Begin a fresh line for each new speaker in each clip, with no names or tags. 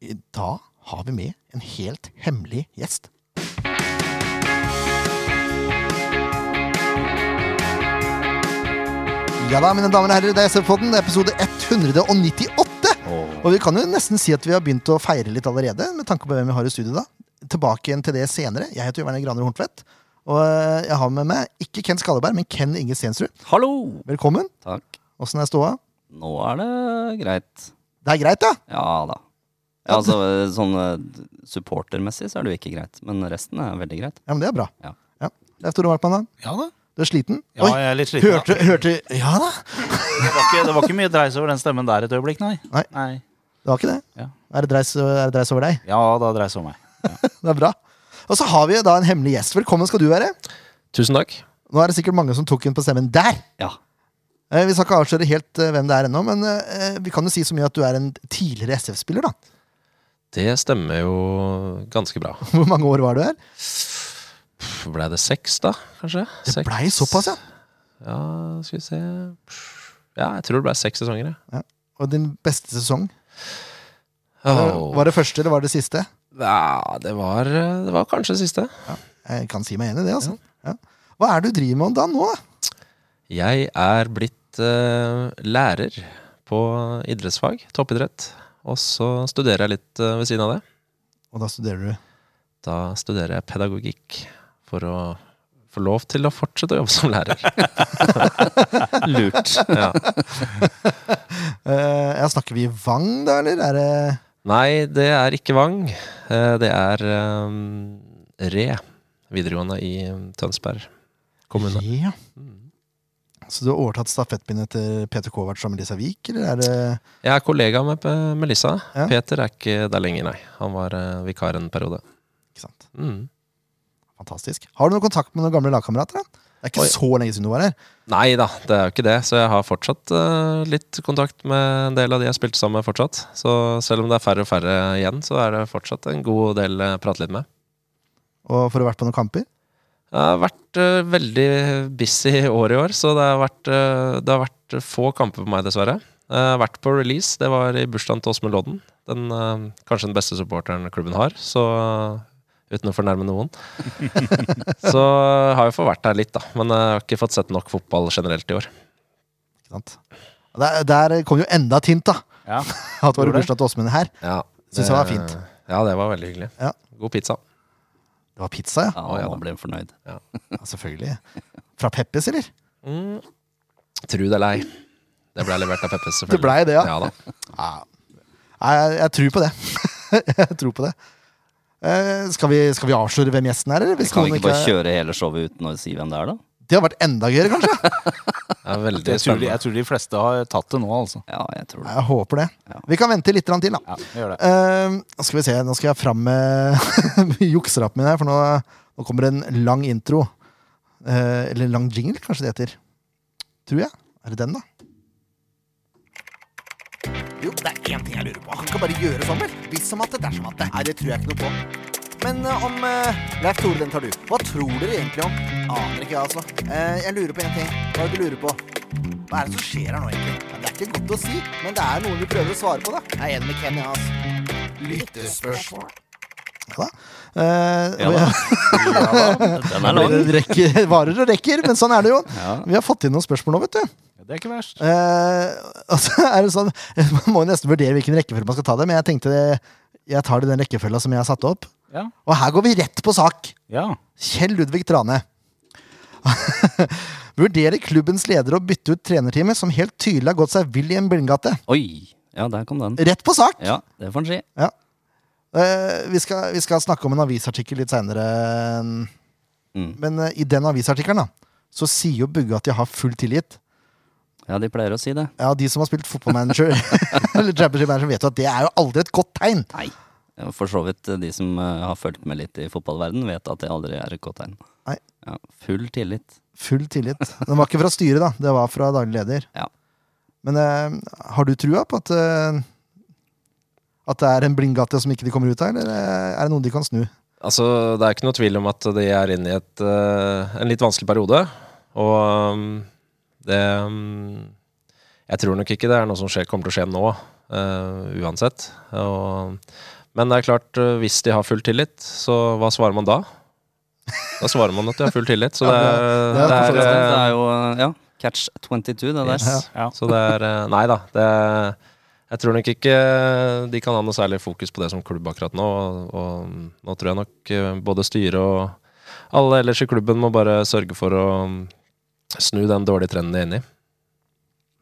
i- da har vi med en helt hemmelig gjest. Ja da, mine damer og herrer, det er SV-podden, episode 198. Og vi kan jo nesten si at vi har begynt å feire litt allerede, med tanke på hvem vi har i studio da. Tilbake igjen til det senere. Jeg heter Jørgen Graner Horntvedt, og eh, jeg har med meg ikke Ken Skalleberg, men Ken Inge Stensrud.
Hallo!
Velkommen.
Takk.
Åssen er ståa?
Nå er det greit.
Det er greit, ja?
Ja da. Ja, altså, sånn eh, supportermessig så er det jo ikke greit, men resten er veldig greit.
Ja, men det er bra.
Ja.
Ja. Det er Tore Markmann, da.
Ja da.
Du er sliten?
Ja, jeg er litt sliten. da.
hørte, hørte Ja da!
Det, var ikke, det var ikke mye dreis over den stemmen der et øyeblikk, nei.
Nei. Det var ikke det?
Ja.
Er det dreis, er det dreis over deg?
Ja, da dreis det om meg.
Det er bra. Og så har vi da en hemmelig gjest. Velkommen skal du være.
Tusen takk.
Nå er det sikkert mange som tok henne på stemmen der.
Ja.
Eh, Vi skal ikke avsløre helt eh, hvem det er ennå, men eh, vi kan jo si så mye at du er en tidligere SF-spiller, da.
Det stemmer jo ganske bra.
Hvor mange år var du her?
Pff, Ble det seks, da? Kanskje?
Det
Seks.
blei såpass, ja.
Ja, skal vi se Pff, Ja, jeg tror det ble seks sesonger, jeg.
Og din beste sesong? Eh,
Åh.
Var det første eller var det siste?
Ja, det var, det var kanskje det siste.
Jeg kan si meg enig i det, altså. Ja. Hva er det du driver med da nå? da?
Jeg er blitt eh, lærer på idrettsfag, toppidrett. Og så studerer jeg litt eh, ved siden av det.
Og da studerer du.
Da studerer jeg pedagogikk for å få lov til å fortsette å jobbe som lærer.
Lurt.
Ja.
Eh, ja, snakker vi Vang, da, eller? Er det
Nei, det er ikke Vang. Eh, Det er ehm, Re videregående i ehm, Tønsberg Mm. kommune.
Ja. Så du har overtatt stafettpinnen etter Peter Kovac og Melissa Wiik, eller er det
Jeg er kollega med P- Melissa.
Ja.
Peter er ikke der lenger, nei. Han var eh, vikar en periode.
Ikke sant?
Mm.
Fantastisk. Har du noen kontakt med noen gamle lagkamerater? da? Det er ikke
Oi.
så lenge siden du var her.
Nei da, det er jo ikke det. Så jeg har fortsatt eh, litt kontakt med en del av de jeg spilte sammen med fortsatt. Så selv om det er færre og færre igjen, så er det fortsatt en god del eh, å prate litt med.
Og for å ha vært på noen kamper.
Jeg har vært eh, veldig busy år i år, så det har vært, eh, det har vært få kamper på meg, dessverre. Jeg har vært på release. Det var i bursdagen til Åsmund Lodden. Den, eh, kanskje den beste supporteren klubben har, så eh, uten å fornærme noen. så eh, har jeg fått vært der litt, da. Men jeg har ikke fått sett nok fotball generelt i år.
Ikke sant? Og Der, der kom jo enda et hint, da!
Ja.
At det var
Gjorde
i
det?
bursdag til Åsmund her.
Ja,
Synes det var fint.
Eh, Ja, det var veldig hyggelig.
Ja.
God pizza.
Det var pizza, ja.
Ja,
Å, ja da.
nå blir han fornøyd.
ja selvfølgelig. Fra Peppes, eller?
Mm. Tru det eller ei. Det ble levert av Peppes, selvfølgelig.
Det blei det, ja.
ja da.
ja. Nei, jeg, jeg tror på det. jeg tror på det. Eh, skal, vi, skal vi avsløre hvem gjesten er, eller? Hvis
Kan vi
noen
ikke bare
er-
kjøre hele showet uten å si hvem det er, da?
Det har vært enda gøyere, kanskje?
Det er
Jeg
veldig
tror, de,
spennende.
jeg tror de fleste har tatt det nå, altså.
Ja, jeg tror det.
Jeg håper det.
Ja.
Vi kan vente litt grann til, da.
Ja, vi gjør det.
Eh, nå skal vi se, nå skal jeg fram med jukserappen min her, for nå, nå kommer det en lang intro. Eh, eller en lang jingle, kanskje det heter. Tror jeg. Er det den, da? Jo, det er én ting jeg lurer på. Han kan bare gjøre sånn, vel? Hvis som at det, dersom at det. Nei, det tror jeg ikke noe på. Men eh, om uh, Leif Tore, den tar du. Hva tror dere egentlig om? Aner ikke, jeg, altså. Eh, jeg lurer på én ting. Hva er det du lurer på? Hva er det som skjer her nå, egentlig? Ja, det er ikke godt å si, men det er noen vi prøver å svare på, da. Jeg er enig med Ken, jeg, altså. Lyttespørsmål. Ja da. Eh,
Ja
og
da.
jeg-
Ja, da. Den er lang.
det rekker, varer og rekker, men sånn er det jo.
Ja.
Vi har fått inn noen spørsmål nå, vet du.
Det er ikke verst.
Eh, altså, er det sånn, man må jo nesten vurdere hvilken rekkefølge man skal ta det, men jeg tenkte jeg tar det i den rekkefølga som jeg har satt opp.
Ja.
Og her går vi rett på sak.
ja.
Kjell Ludvig Trane. Vurderer klubbens leder å bytte ut trenerteamet, som helt tydelig har gått seg vill i en blindgate.
Oi! Ja, der kom den.
Rett på sak!
Ja, det får han si.
Eh, vi, skal, vi skal snakke om en avisartikkel litt seinere.
Mm.
Men eh, i den avisartikkelen da, så sier jo Bugge at de har full tillit.
Ja, de pleier å si det.
Ja, De som har spilt fotballmanager, eller championship manager, vet jo at det er jo aldri et godt tegn.
Nei. Ja, For så vidt eh, de som eh, har fulgt med litt i fotballverden vet at det aldri er et godt tegn.
Nei.
Ja, full tillit.
Full tillit. Den var ikke fra styret, da. Det var fra daglig leder.
Ja.
Men eh, har du trua på at eh, At det er en blindgate som ikke de kommer ut av, eller eh, er det noen de kan snu?
Altså, Det er ikke noe tvil om at de er inne i et, eh, en litt vanskelig periode. Og um, det um, Jeg tror nok ikke det er noe som skjer, kommer til å skje nå. eh, uansett. Og, men det er klart, eh, hvis de har full tillit, så hva svarer man da? Da svarer man at de har full tillit, så det er,
det er
det
Det
er,
er jo eh, ja, catch 22, det der.
Yes.
Ja.
Så det er eh, Nei da. Det er, jeg tror nok ikke eh, de kan ha noe særlig fokus på det som klubb akkurat nå. Og, og nå tror jeg nok eh, både styret og alle ellers i klubben må bare sørge for å mm, snu den dårlige trenden de er inne i.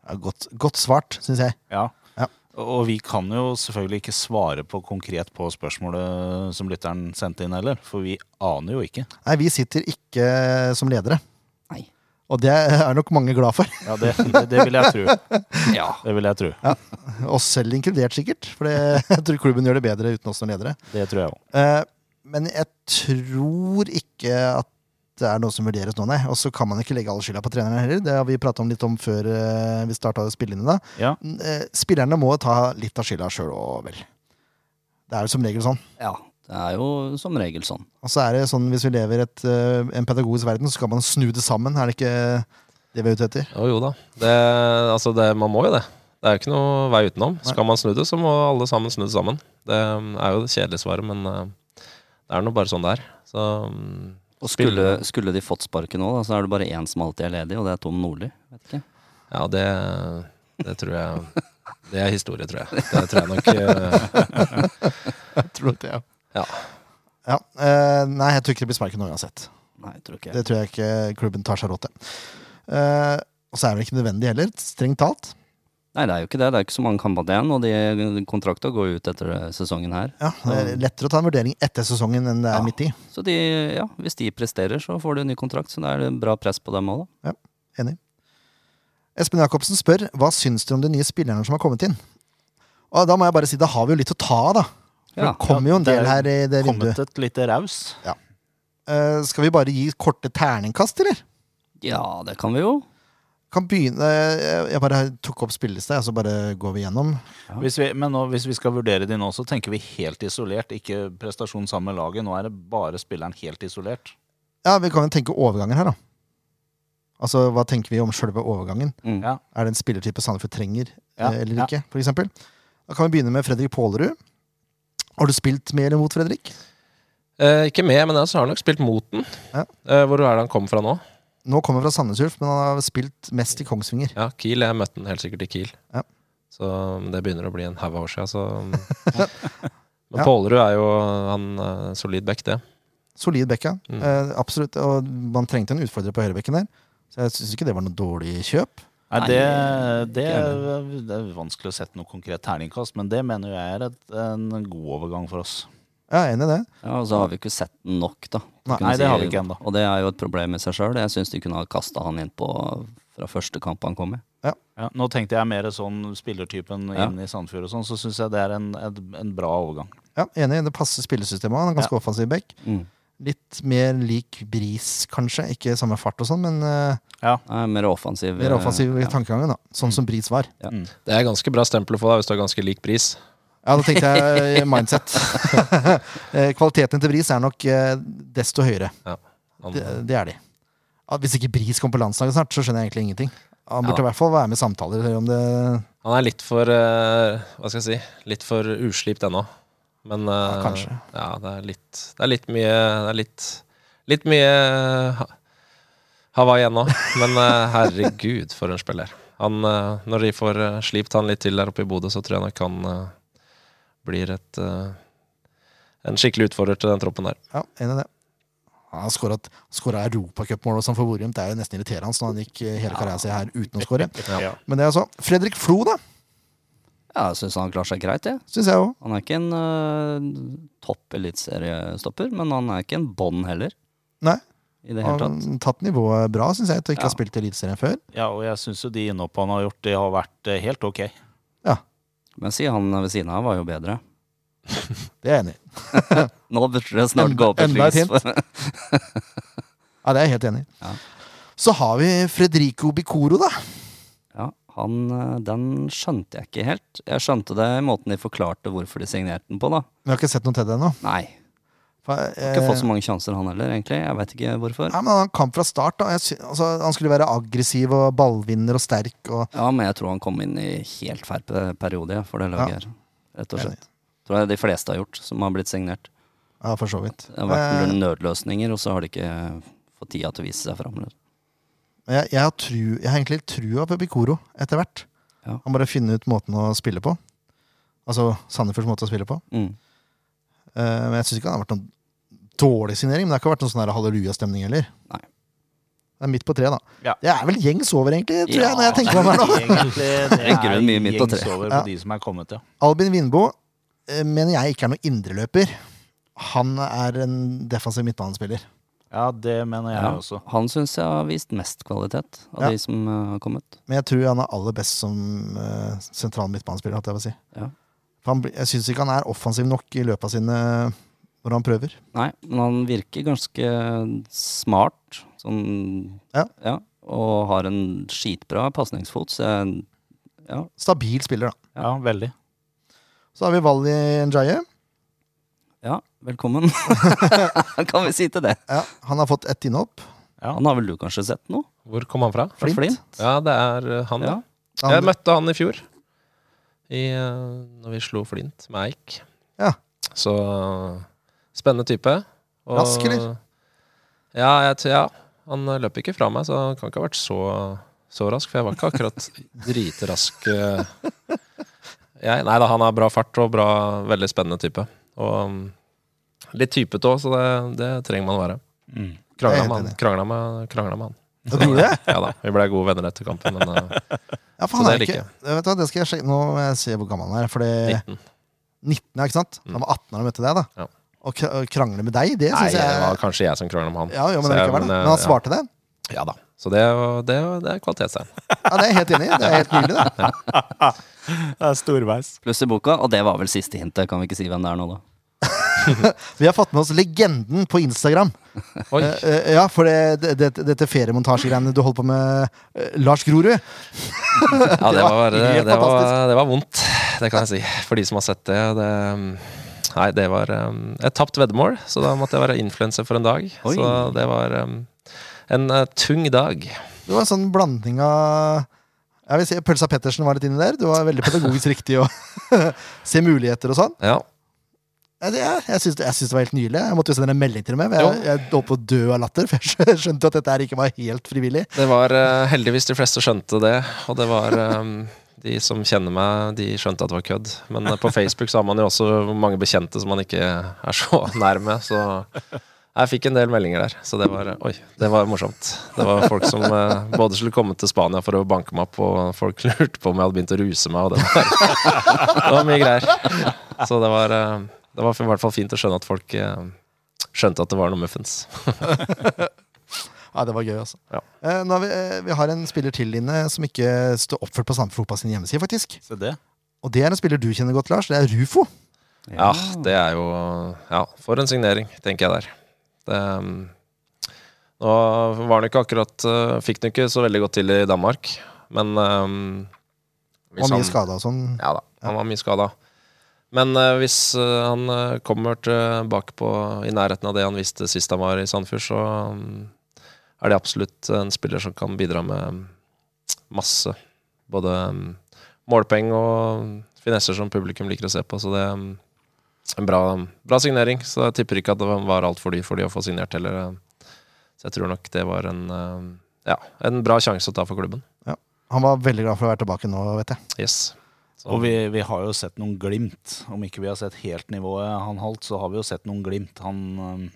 Ja, godt, godt svart, syns jeg.
Ja.
Ja.
Og vi kan jo selvfølgelig ikke svare på konkret på spørsmålet som lytteren sendte inn heller, for vi aner jo ikke.
Nei, vi sitter ikke som ledere.
Nei.
Og det er nok mange glad for.
Ja, det, det, det vil jeg tro.
Ja.
Det vil jeg tro.
Oss selv inkludert, sikkert. For det, jeg tror klubben gjør det bedre uten oss som ledere.
Det tror jeg òg.
Eh, Men jeg tror ikke at det er noe som vurderes nå, nei. Og så kan man ikke legge all skylda på trenerne heller. Det har vi prata om litt om før eh, vi starta spillene. da.
Ja.
Eh, Spillerne må ta litt av skylda sjøl òg, vel. Det er jo som regel sånn.
ja. Det er jo som regel sånn.
Og så er det sånn hvis vi lever i et, eh, en pedagogisk verden, så skal man snu det sammen. Er det ikke det vi er ute etter?
Å jo da. Det, altså det, man må jo det. Det er jo ikke noe vei utenom. Skal man snu det, så må alle sammen snu det sammen. Det mm, er jo det kjedelige svaret, men eh, det er nå bare sånn det er. Så mm,
Og skulle, skulle de fått sparket nå, da, så er det bare én som alltid er ledig, og det er Tom Nordli. Vet ikke.
Ja, det, det tror jeg Det er historie, tror jeg. Det tror jeg nok eh,
Tror det, ja.
Ja.
Ja, eh, nei, jeg tror ikke det blir sparken uansett.
Nei, jeg tror ikke
Det tror jeg ikke klubben tar seg råd til. Eh, og så er det vel ikke nødvendig heller, strengt talt.
Nei, det er jo ikke det. Det er ikke så mange kamper igjen, og de kontrakta går jo ut etter eh, sesongen her.
Ja, det er lettere å ta en vurdering etter sesongen enn det er
Ja.
midt i.
Så de, ja, hvis de presterer, så får de en ny kontrakt, så det er bra press på dem òg, da.
Espen Jacobsen spør hva syns du om de nye spillerne som har kommet inn. Og da må jeg bare si, da har vi jo litt å ta av, da. For
Ja.
det kommer jo en
det er
del her i det vinduet.
Kommet et lite raus.
Eh, skal vi bare gi korte terningkast, eller?
ja, det kan vi jo.
Kan begynne eh, Jeg bare tok opp spillelista, og så bare går vi gjennom.
Hvis vi, men nå, hvis vi skal vurdere de nå, så tenker vi helt isolert. Ikke prestasjon sammen med laget. Nå er det bare spilleren helt isolert.
Ja, vi kan jo tenke overganger her, da. Altså, hva tenker vi om sjølve overgangen?
Mm.
Ja.
Er det en spillertype Sandefjord trenger
Ja,
eh, eller
ja.
ikke, for eksempel? Da kan vi begynne med Fredrik Pålerud. Har du spilt med eller mot Fredrik?
eh, Ikke med, men jeg har nok spilt mot den.
Ja.
Eh, hvor er det han kom fra nå?
Nå kommer han fra Sandnes Ulf, men han har spilt mest i Kongsvinger.
Ja, Kiel. Jeg møtte den helt sikkert i Kiel.
Ja.
Så mm, det begynner å bli en haug av år sia, så Men
Ja.
Pålerud er jo han eh, solid back, det.
Solid bekka,
Mm.
eh, absolutt. Og man trengte en utfordrer på høyrebekken der. Så jeg syns ikke det var noe dårlig kjøp.
Nei,
Nei,
det, det, er, det er vanskelig å sette noe konkret terningkast, men det mener jeg er et, en god overgang for oss.
Ja, jeg er enig i det.
Ja, og så har vi ikke sett den nok, da.
Nei,
Kunne
nei, det har vi ikke ennå.
Og det er jo et problem i seg sjøl. Jeg syns de kunne ha kasta han innpå fra første kamp han kom i.
Ja, nå tenkte jeg mer sånn spillertypen
Ja.
inn i Sandfjord og sånn, så syns jeg det er en, en, en bra overgang.
Ja, enig. Det passer spillesystemet. Han er ganske offensiv bekk.
Mm.
Litt mer lik bris, kanskje. Ikke samme fart og sånn, men eh,
Nei, mer offensiv.
mer
eh,
offensiv i
ja.
tankegangen. da. Sånn som bris var.
Ja.
Mm.
Det er ganske bra stempel å få deg hvis du har ganske lik pris.
Ja, da tenkte jeg eh, mindset. Eh, Kvaliteten til bris er nok eh, desto høyere.
Han,
Det, det er de. Ah, Hvis ikke Bris kommer på landslaget snart, så skjønner jeg egentlig ingenting. Han burde
Ja.
i hvert fall være med i samtaler eller om det
han er litt for eh, Hva skal jeg si? Litt for uslipt ennå. Men eh,
Ja, kanskje.
Ja, det er litt Det er litt mye Det er litt Litt mye ha, Hawaii ennå. Men eh, herregud, for en spiller. Han, eh, når de får eh, slipt han litt til der oppe i Bodø, så tror jeg nok han eh, blir et eh, en skikkelig utfordrer til den troppen der.
Ja, enig i det. Ja, Han skåra europacupmål og sånn for Borum. Det er jo nesten irriterende når han gikk eh, hele karrieren sin her uten å skåre.
Ja.
Men det er altså Fredrik Flo, da,
Ja, jeg syns han klarer seg greit, jeg.
syns jeg òg.
Han er ikke en eh, topp eliteseriestopper, men han er ikke en bånd heller.
Nei.
I det hele
Har
tatt.
tatt nivået bra, syns jeg, til ikke å
Ja.
ha spilt i Eliteserien før.
Ja, og jeg syns jo de innhoppene han har gjort, de har vært eh, helt ok.
Men si han ved siden av var jo bedre.
Det er jeg enig i.
Nå burde det snart
Enda-
gå opp i
enda et
pris. for-
Ja, det er jeg helt enig i.
Ja.
Så har vi Fredrico Bicoro, da.
Ja, han, eh, Den skjønte jeg ikke helt. Jeg skjønte det i måten de forklarte hvorfor de signerte den på, da.
Vi har ikke sett noe til det ennå.
Nei.
For,
Har ikke
eh,
fått så mange sjanser, han heller, egentlig. Jeg vet ikke hvorfor.
Nei, men han kamp fra start, da. Jeg sy altså, han skulle være aggressiv og ballvinner og sterk. Og
Ja, men jeg tror han kom inn i helt feil pe- periode ja, for det
Ja.
laget her. Rett og slett. Tror jeg de fleste har gjort, som har blitt signert.
ja, for så vidt.
Det har vært en del
Eh,
nødløsninger, og så har de ikke fått tida til å vise seg fram. liksom.
jeg, jeg, har tru, jeg har egentlig litt trua på Bikoro etter hvert.
Ja.
Han bare finner ut måten å spille på. Altså Sandefjords måte å spille på.
Mm.
Eh, men jeg syns ikke han har vært noen dårlig signering. Men det har ikke vært noen sånn her hallelujastemning heller.
Nei.
Det er midt på tre, da.
Ja.
Det er vel gjengs over, egentlig, tror jeg, når jeg tenker meg om her nå.
Egentlig, det
I
er
grunnen mye midt på
gjengs
treet.
over på
Ja.
de som er kommet, ja.
Albin Vindbo eh, mener jeg ikke er noen indreløper. Han er en defensiv midtbanespiller.
Ja, det mener jeg
Ja.
også.
Han syns jeg har vist mest kvalitet av
Ja.
de som eh, har kommet.
Men jeg tror han er aller best som eh, sentral midtbanespiller. hatt Jeg, på å si.
Ja.
For han, blir- jeg syns ikke han er offensiv nok i løpet av sine når han prøver.
Nei, men han virker ganske smart. Sånn
Ja.
og har en skitbra pasningsfot, så jeg ja,
Stabil spiller, da.
Ja, veldig.
Så har vi Wally Njaye.
ja, velkommen. kan vi si til det?
Ja, han har fått ett innhopp.
Han har vel du kanskje sett noe?
Hvor kom han fra?
Fra
Flint.
Flint?
Ja, det er eh, han, ja.
Ja.
Han,
Jeg møtte han i fjor. I, eh, når vi slo Flint med Eik.
Ja.
Så eh, spennende type. Og-
Rask, eller?
Ja, jeg, t- ja. Han eh, løp ikke fra meg, så han kan ikke ha vært så, så rask. For jeg var ikke akkurat dritrask. eh. Jeg, nei da, han har bra fart og bra, veldig spennende type. Og mm, litt typete òg, så det, det trenger man å være.
Jeg
Krangla
er
med
helt
han. Krangla med, krangla med han.
Ja, du gjorde det?
Ja da, Vi blei gode venner etter kampen, men eh,
ja, for
Så
han
det
er
liker
ikke, vet du, hva, det skal jeg sjekke. Nå må jeg se hvor gammel han er. For det
19.
19, ja, ikke sant? Han var 18 da han møtte deg. da
Mm. Ja.
Og kra- og krangle med deg, det
Nei,
syns
det
jeg
var kanskje jeg som krangla med han.
ja, jo, men,
Så jeg-
likevel, da.
men, eh,
men han svarte det?
Ja, ja da. Så det, er- det, er- det er kvalitetstegn.
Ja, Det er jeg helt enig i. Det er helt nydelig, det.
Det er storveis.
Pluss i boka, og det var vel siste hintet. Kan vi ikke si hvem det er nå, da?
Vi har fått med oss legenden på Instagram.
Oi.
Eh, eh, ja, for det, det, det, dette feriemontasjegreiene du holder på med, eh, Lars Grorud
Ja, det
var
var, det,
helt
det, var,
fantastisk.
det var vondt, det kan jeg si. For de som har sett det. det nei, det var um, et tapt veddemål, så da måtte jeg være influenser for en dag.
Oi.
Så det var um, en eh, tung dag.
Det var en sånn blanding av jeg vil si Pølsa Pettersen var litt inni der. Du var veldig pedagogisk riktig og se muligheter og sånn.
Ja.
Ja, det- Jeg, jeg, syns, det- jeg syns det var helt nydelig. Jeg måtte jo sende en melding til dem. Jeg, jeg, jeg holdt på å dø av latter, for jeg skjønte at dette her ikke var helt frivillig.
Det var eh, heldigvis de fleste skjønte det, og det var eh, de som kjenner meg, de skjønte at det var kødd. Men eh, på Facebook så har man jo også mange bekjente som man ikke er så nær med, så jeg fikk en del meldinger der. Så det var eh, Oi, det var morsomt. Det var folk som eh, både skulle komme til Spania for å banke meg opp, og folk lurte på om jeg hadde begynt å ruse meg, og det var, det var mye greier. Så det var, eh, det var i hvert fall fint å skjønne at folk eh, skjønte at det var noe muffens.
Ja, det var gøy, altså.
Ja.
Eh, nå har vi, eh, vi har en spiller til inne som ikke står oppført på Sandefjord Fotball sin hjemmeside, faktisk.
Se det.
Og det er en spiller du kjenner godt, Lars. Det er Rufo.
Ja, det er jo Ja, for en signering, tenker jeg der. Det, um, nå var han ikke akkurat uh, Fikk den ikke så veldig godt til i Danmark, men um, hvis
Og mye
han-
skada og sånn.
Ja da, han var mye skada. Men eh, hvis eh, han eh, kommer tilbake på, i nærheten av det han visste sist han var i Sandefjord, så mm, er det absolutt en spiller som kan bidra med mm, masse. Både mm, målpoeng og mm, finesser som publikum liker å se på. Så det er mm, en bra, mm, bra signering. Så jeg tipper ikke at det var altfor dyr for de å få signert heller. eh. Så jeg tror nok det var en, eh, ja, en bra sjanse å ta for klubben.
Han var veldig glad for å være tilbake nå, vet jeg.
Yes. Så-
Og vi, vi har jo sett noen glimt. Om ikke vi har sett helt nivået han holdt, så har vi jo sett noen glimt. Han øhm,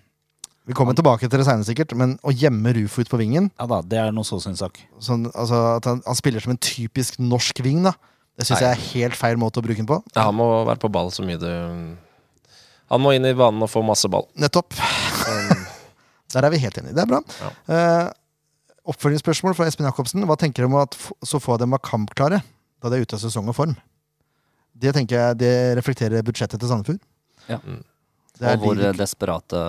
Vi kommer tilbake til det senere sikkert, men å gjemme Rufo ut på vingen
Ja da, det er noe så sin sak.
sånn, altså, at han, han spiller som en typisk norsk ving, da. Det syns jeg er helt feil måte å bruke den på.
Ja, han må være på ball så mye du Han må inn i banen og få masse ball.
Nettopp. Der er vi helt enige. Det er bra. Eh, oppfølgingsspørsmål fra Espen Jacobsen. Hva tenker du om at f så få av dem var kampklare da de er ute av sesong og form? Det tenker jeg, det reflekterer budsjettet til Sandefjord.
Ja.
Det er
og hvor
de-
desperate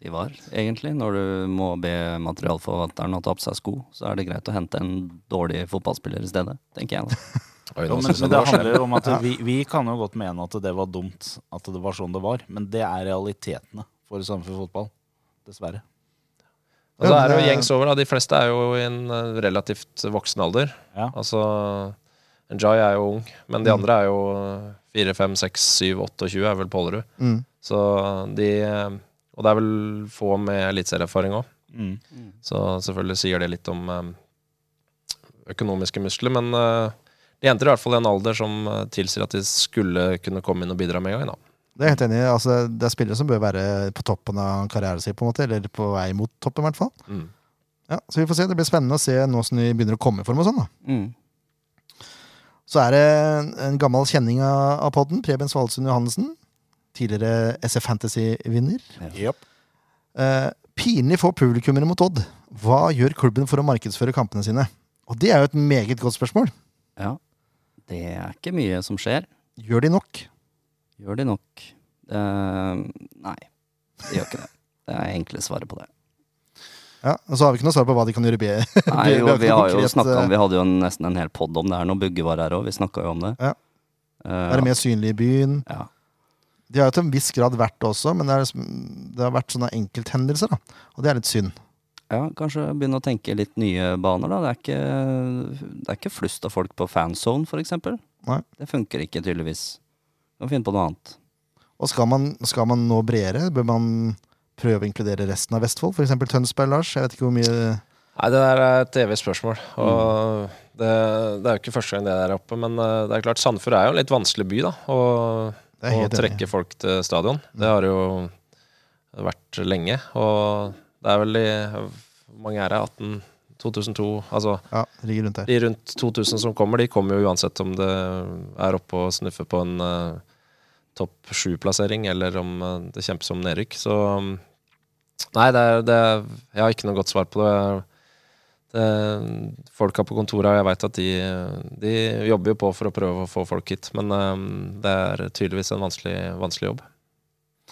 de var, egentlig. Når du må be materialforvalteren å ta på seg sko, så er det greit å hente en dårlig fotballspiller i stedet, tenker jeg. da.
Oi,
Ja,
nå
men,
synes jeg
men
det
det
var så-
handler jo om at vi, vi kan jo godt mene at det var dumt at det var sånn det var, men det er realitetene for Sandefjord fotball. Dessverre.
Og så
Ja, men
er det jo
det-
gjengs over. da. De fleste er jo i en eh, relativt voksen alder.
Ja.
Altså, Njay er jo ung, men de andre er jo eh, 4, 5, 6, 7, 28 er vel Pålerud.
Mm.
Så de eh, Og det er vel få med eliteserieerfaring òg,
Mm.
så selvfølgelig sier det litt om eh, økonomiske muskler. Men eh, de henter i hvert fall en alder som eh, tilsier at de skulle kunne komme inn og bidra med en gang. da.
Det er jeg helt enig i. Altså, det er spillere som bør være på toppen av karrieren sin, på en måte, eller på vei mot toppen, i hvert fall.
Mm.
Ja, så vi får se. Det blir spennende å se nå som de begynner å komme i form og sånn. da.
Mm.
Så er det en- en gammel kjenning av av podden, Preben Svalsund Johannessen. Tidligere SF Fantasy-vinner. Eh, pinlig få publikummere mot Odd. Hva gjør klubben for å markedsføre kampene sine? Og det er jo et meget godt spørsmål.
Ja. Det er ikke mye som skjer.
Gjør de nok?
Gjør de nok? Eh, nei, de gjør ikke det. Det er enkle svaret på det.
Ja, Og så har vi ikke noe svar på hva de kan gjøre bedre. Det-
Nei,
det er
jo,
ikke
vi,
noe
har jo
konkret,
snakket om,
eh,
vi hadde jo nesten en hel pod om det her når Bugge var her òg. Vi snakka jo om det.
Ja.
Eh,
Være mer synlig i byen.
ja.
De har jo til en viss grad vært det også, men det, er, liksom- det har vært sånne enkelthendelser. da. Og det er litt synd.
ja, kanskje begynne å tenke litt nye baner, da. Det er ikke, det er ikke flust av folk på fanzone, for eksempel.
Nei.
Det funker ikke, tydeligvis. Du må finne på noe annet.
Og skal man, skal man nå bredere, bør man prøve å inkludere resten av Vestfold? F.eks. Tønsberg, Lars. Jeg vet ikke hvor mye
Nei, det der er et evig spørsmål.
Mm.
Og det, det er jo ikke første gang det er der oppe, men eh, det er klart Sandefjord er jo en litt vanskelig by da, å,
Det er
å
helt enig. Mm.
trekke folk til stadion. Det har jo vært lenge, og det er vel i Hvor mange er det? 18 2002? Altså
Ja, det ligger rundt der.
de rundt 2000 som kommer, de kommer jo uansett om det er oppe og snuffer på en eh, topp sju-plassering, eller om eh, det kjempes om nedrykk. Så um, Nei, det er, det er, jeg har ikke noe godt svar på det. det folka på kontoret, jeg veit at de, de jobber jo på for å prøve å få folk hit, men eh, det er tydeligvis en vanskelig, vanskelig jobb.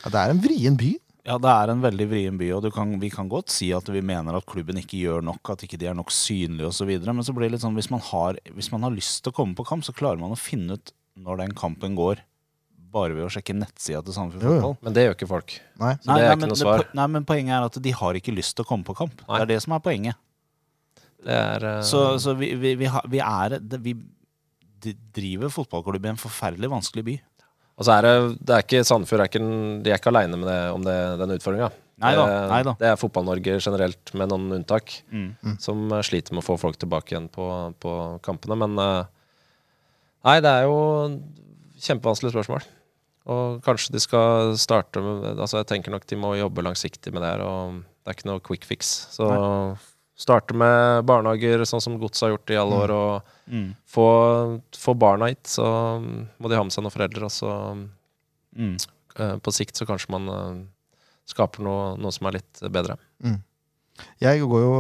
Ja, det er en vrien by.
Ja, det er en veldig vrien by, og du kan, vi kan godt si at vi mener at klubben ikke gjør nok, at ikke de er nok synlige osv., men så blir det litt sånn, hvis man, har, hvis man har lyst til å komme på kamp, så klarer man å finne ut når den kampen går, bare ved å sjekke nettsida til Sandefjord
Jo, jo.
Fotball.
Men det gjør ikke folk.
Nei.
Så det er ikke
men,
noe svar.
po- Nei, men poenget er at de har ikke lyst til å komme på kamp.
Nei.
Det er det som er poenget.
Det er, eh,
Så, så vi, vi, vi, har, vi er det- Vi d- driver fotballklubb i en forferdelig vanskelig by.
Og så er det, det er ikke Sandefjord er ikke, en- de er ikke aleine om det, den utfordringa.
Nei da,
Det-
nei da.
Eh, Det er Fotball-Norge generelt, med noen unntak,
Mm.
som eh, sliter med å få folk tilbake igjen på, på kampene. Men eh, nei, det er jo kjempevanskelige spørsmål. Og kanskje de skal starte med altså Jeg tenker nok de må jobbe langsiktig med det her. Og det er ikke noe quick fix. Så starte med barnehager, sånn som Gods har gjort i alle år. og
Mm.
få, få barna hit, så um, må de ha med seg noen foreldre. Og så um,
Mm.
eh, på sikt så kanskje man eh, skaper noe, noe som er litt bedre.
Jeg, går jo,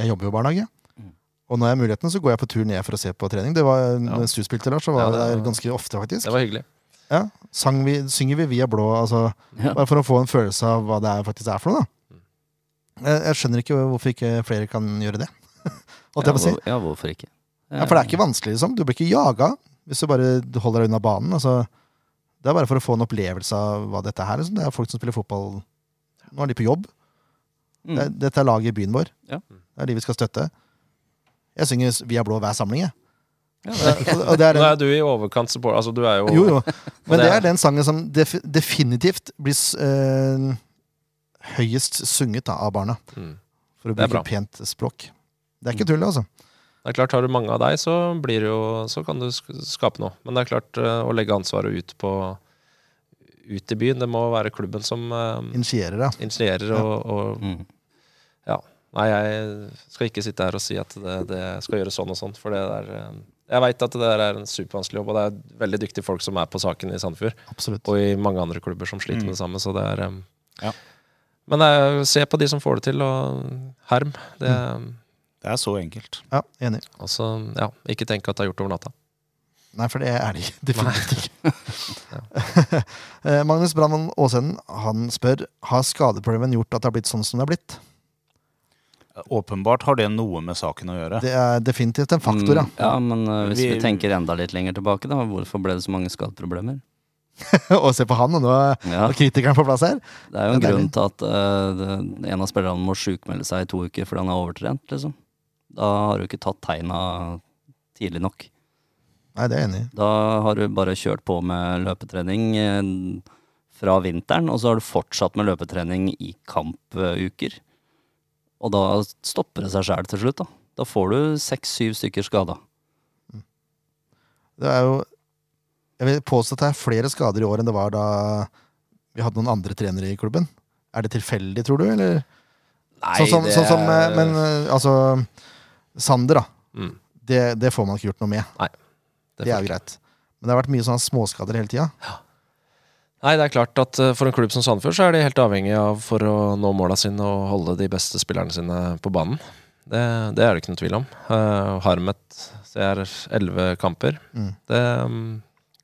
jeg jobber jo i barnehage.
Mm.
Og når jeg har muligheten, så går jeg på tur ned for å se på trening. Det var, Mens du spilte, Lars, så var
Ja, det-
jeg der ganske ofte, faktisk.
Det var hyggelig.
Ja, sang vi, synger vi via blå, altså,
Ja.
bare for å få en følelse av hva det er faktisk er for noe.
Mm.
Da. Jeg, jeg skjønner ikke hvorfor ikke flere kan gjøre det. Holdt jeg på å si.
hvor- ja, hvorfor ikke?
Ja, for det er ikke vanskelig, liksom. Du blir ikke jaga hvis du bare holder deg unna banen. Altså, det er bare for å få en opplevelse av hva dette her er. Liksom. Det er folk som spiller fotball. Nå er de på jobb.
Mm.
Det, dette er laget i byen vår.
Ja.
Det er de vi skal støtte. Jeg synger s- 'Vi er blå' hver samling, jeg.
Ja,
Og- og det er
Nå
den,
er du i overkant support, altså du er jo,
jo, jo. Men
det
det
er-
er den sangen som def definitivt blir s- eh, høyest sunget da, av barna.
Mm.
For å
Det er bra.
bruke pent språk. Det er ikke tull, altså.
Det er klart, har du mange av deg, så, blir det jo, så kan du sk- skape noe. Men det er klart, eh, å legge ansvaret ut på ut i byen, det må være klubben som eh,
Initierer, ja.
initierer og, og
Mm.
Nei, jeg skal ikke sitte her og si at det, det skal gjøres sånn og sånn, for det der eh, Jeg veit at det der er en supervanskelig jobb, og det er veldig dyktige folk som er på saken i Sandefjord,
Absolutt.
og i mange andre klubber som sliter med det samme, så det er eh,
Ja.
Men det er, se på de som får det til, og herm. Det,
Det er så enkelt.
Ja, enig.
og så, ja, ikke tenk at det er gjort over natta.
Nei, for det er det ikke. definitivt ikke. Eh, Magnus Brandmann Aasenden han spør har skadeproblemen gjort at det har blitt sånn som det har blitt.
Åpenbart har det noe med saken å gjøre.
Det er definitivt en faktor, ja.
Mm, ja, men eh, hvis vi,
Vi-
tenker enda litt lenger tilbake, da, hvorfor ble det så mange skadeproblemer?
og se på han, og nå er
Ja,
nå er kritikeren på plass her.
det er jo en
det er
grunn til at eh, det- en av spillerne må sjukmelde seg i to uker fordi han er overtrent, liksom. Da har du ikke tatt tegna tidlig nok.
Nei, det er jeg enig i.
Da har du bare kjørt på med løpetrening eh, fra vinteren, og så har du fortsatt med løpetrening i kampuker. Og da stopper det seg sjæl til slutt, da. Da får du seks-syv stykker skada.
Det er jo Jeg vil påstå at det er flere skader i år enn det var da vi hadde noen andre trenere i klubben. Er det tilfeldig, tror du? Eller? sånn som, sånn som eh, Men eh, altså Sander, da.
Mm.
Det, det får man ikke gjort noe med. Det, er jo greit. Men det har vært mye sånne småskader hele tida.
Nei, det er klart at eh, for en klubb som Sandefjord, så er de helt avhengig av for å nå måla sine og holde de beste spillerne sine på banen. Det, det er det ikke noe tvil om. Uh, Harmet ser elleve kamper.
Mm.
Det er um,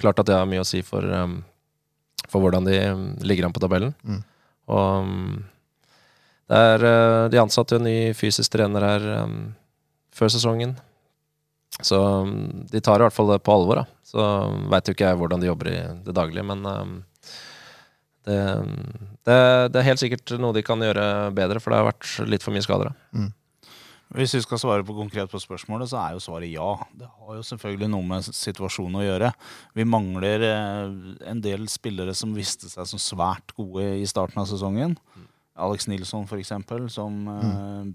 klart at det har mye å si for, um, for hvordan de um, ligger an på tabellen.
Mm.
Og um, det er eh, De ansatte jo en ny fysisk trener her um, før sesongen. Så um, de tar i hvert fall det på alvor. da. Så um, veit jo ikke jeg hvordan de jobber i det daglige, men um, det, um, det, det er helt sikkert noe de kan gjøre bedre, for det har vært litt for mye skader. da.
Hvis vi skal svare på konkret på spørsmålet, så er jo svaret ja. Det har jo selvfølgelig noe med situasjonen å gjøre. Vi mangler eh, en del spillere som viste seg som svært gode i starten av sesongen. Alex Nilsson for eksempel, som eh,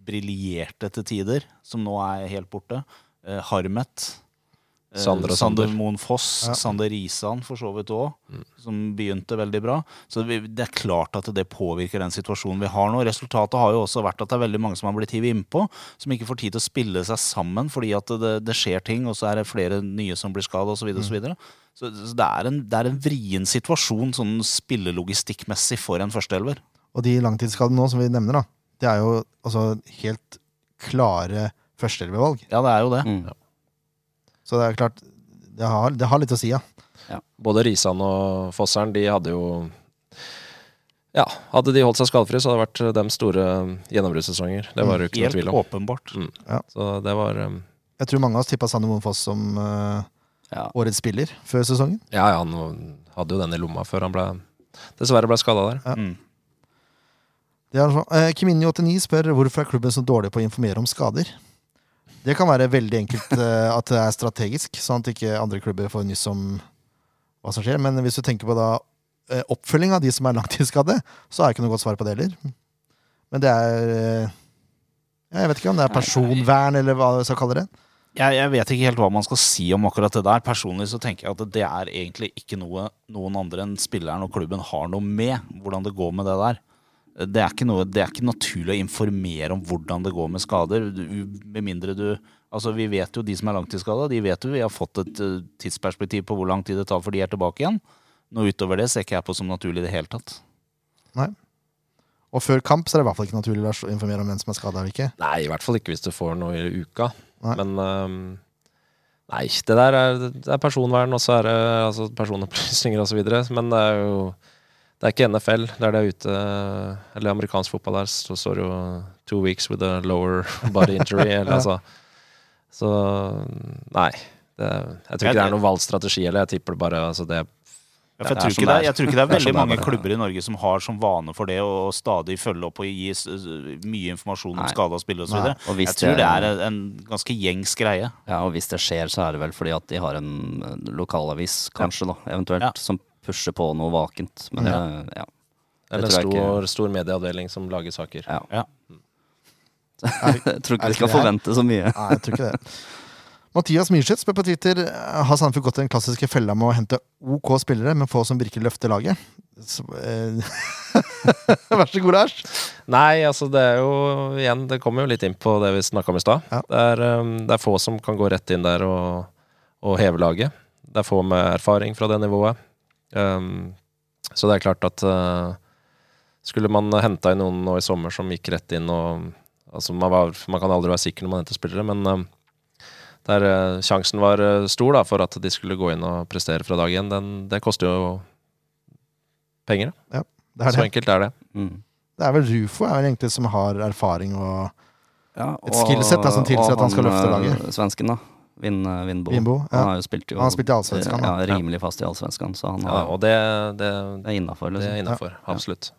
briljerte til tider, som nå er helt borte. Eh, Harmet. Eh,
Sander og Sander.
Sander Moen Foss.
Ja.
Sander Risan for så vidt òg,
Mm.
som begynte veldig bra. Så vi, det er klart at det påvirker den situasjonen vi har nå. Resultatet har jo også vært at det er veldig mange som har blitt hivet innpå, som ikke får tid til å spille seg sammen fordi at det, det skjer ting, og så er det flere nye som blir skada osv. Så,
Mm.
videre, og så, videre. så så det er en, det er en vrien situasjon sånn spillelogistikkmessig for en førsteelver.
Og de langtidsskadene nå som vi nevner, da, det er jo altså helt klare førsteelvevalg.
Ja, det er jo det.
Mm.
Så det er klart, det har, det har litt å si, ja.
Både Risan og Fossern de hadde jo Ja, hadde de holdt seg skadefrie, så hadde det vært eh, dem store gjennombruddssesonger. Det var det jo ikke noe
Helt
tvil om.
åpenbart.
Så det var um,
Jeg tror mange av oss tippa Sander Moen Foss som eh,
Ja.
årets spiller før sesongen.
Ja, ja, han hadde jo den i lomma før han ble Dessverre ble skada der.
Ja.
Mm.
Det er sånn. eh, Kiminio89 spør hvorfor er klubben så dårlig på å informere om skader. Det kan være veldig enkelt eh, at det er strategisk, sånn at ikke andre klubber får nyss om hva som skjer. Men hvis du tenker på da eh, oppfølging av de som er langtidsskadde, så er det ikke noe godt svar på det heller. Men det er eh, Jeg vet ikke om det er personvern, eller hva vi skal kalle det.
jeg, jeg vet ikke helt hva man skal si om akkurat det der. Personlig så tenker jeg at det er egentlig ikke noe noen andre enn spilleren og klubben har noe med. Hvordan det går med det der. Det er ikke, noe, det er ikke naturlig å informere om hvordan det går med skader. Du- Med mindre du Altså, vi vet jo de som er langtidsskada, de vet jo vi har fått et eh, tidsperspektiv på hvor lang tid det tar for de er tilbake igjen. Noe utover det ser ikke jeg på som naturlig i det hele tatt.
Og før kamp så er det i hvert fall ikke naturlig Lars, å informere om hvem som er skada eller ikke.
Nei, i hvert fall ikke hvis du får noe i uka.
Nei.
Men ehm, Nei, det der er, det er personvern, og så er det altså, personopplysninger osv. Men det er jo Det er ikke NFL. Det er det ute Eller amerikansk fotball der så står det jo 'two weeks with a lower body injury'. eller,
Ja.
altså. Så Nei. Det, jeg tror ikke det er noen valgt strategi, eller jeg tipper det bare altså, det
Ja, for jeg,
Det er
tror
som
ikke det,
det er.
er- jeg tror ikke det er
Det er som
veldig
det er,
mange
bare.
klubber i Norge som har som vane for det å stadig følge opp og gi s- s- mye informasjon om
Nei.
skada og spillere
Nei.
osv.
Og
Jeg
hvis
tror det
det-
er en- en ganske gjengs greie.
Ja, og hvis det skjer, så er det vel fordi at de har en eh, lokalavis, kanskje, da, eventuelt,
Ja.
som pusher på noe vakent. Men ja. ja.
Eller en
tror jeg ikke.
stor, stor medieavdeling som lager saker.
ja.
Ja.
Jeg tror
Er
ikke
det
vi skal
ikke det her?
forvente så mye.
Nei, jeg tror ikke det. Mathias Myrseth spør på Twitter eh, Har Sandefjord gått i den klassiske fella med å hente OK spillere, men få som virkelig løfter laget. Så, eh, Vær så god, Lars.
Nei, altså det er jo igjen Det kommer jo litt inn på det vi snakka om i stad.
Ja.
Det, er, um, det er få som kan gå rett inn der og, og heve laget. Det er få med erfaring fra det nivået. Um, så det er klart at uh, skulle man henta inn noen nå i sommer som gikk rett inn og Altså man, var, man kan aldri være sikker når man henter spillere, men um, der uh, sjansen var uh, stor da for at de skulle gå inn og prestere fra dag én, den- det koster jo penger. Da.
Det er,
Så
det.
enkelt er det.
Mm.
det er vel Rufo er vel egentlig som har erfaring og
Ja,
Et skillset, da, som tilsier at han skal løfte laget.
eh, Svensken, da. Vin, Vinbo.
Vinbo, ja.
Han har jo spilt jo eh,
Han spilte i Allsvenskan,
ja,
da.
rimelig fast i Allsvenskan, så han
Ja,
har,
og det, det,
det er innafor.
det er
Liksom.
innafor. Absolutt.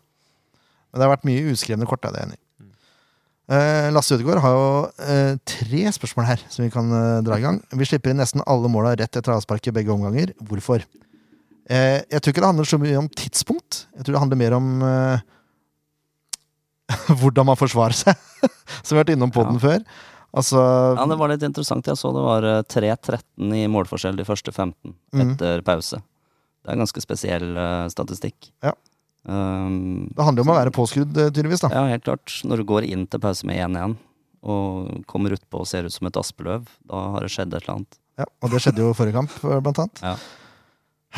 Men det har vært mye uskrevne kort, da, det er jeg enig i.
Mm.
Eh, Lasse Utegård har jo eh, tre spørsmål her som vi kan eh, dra i gang. Vi slipper inn nesten alle måla rett etter avspark i begge omganger. Hvorfor? Eh, jeg tror ikke det handler så mye om tidspunkt. Jeg tror det handler mer om eh, hvordan man forsvarer seg, som vi har vært innom på
Ja.
den før. Altså
Ja, det var litt interessant. Jeg så det var eh, 3-13 i målforskjell de første 15
Mhm.
etter pause. Det er ganske spesiell eh, statistikk.
Ja.
Um,
Det handler jo om å være påskrudd, eh, tydeligvis. da
ja, helt klart. Når du går inn til pause med 1-1 og kommer utpå og ser ut som et aspeløv, da har det skjedd et eller annet.
ja, Og det skjedde jo forrige kamp, eh, blant annet.
Ja.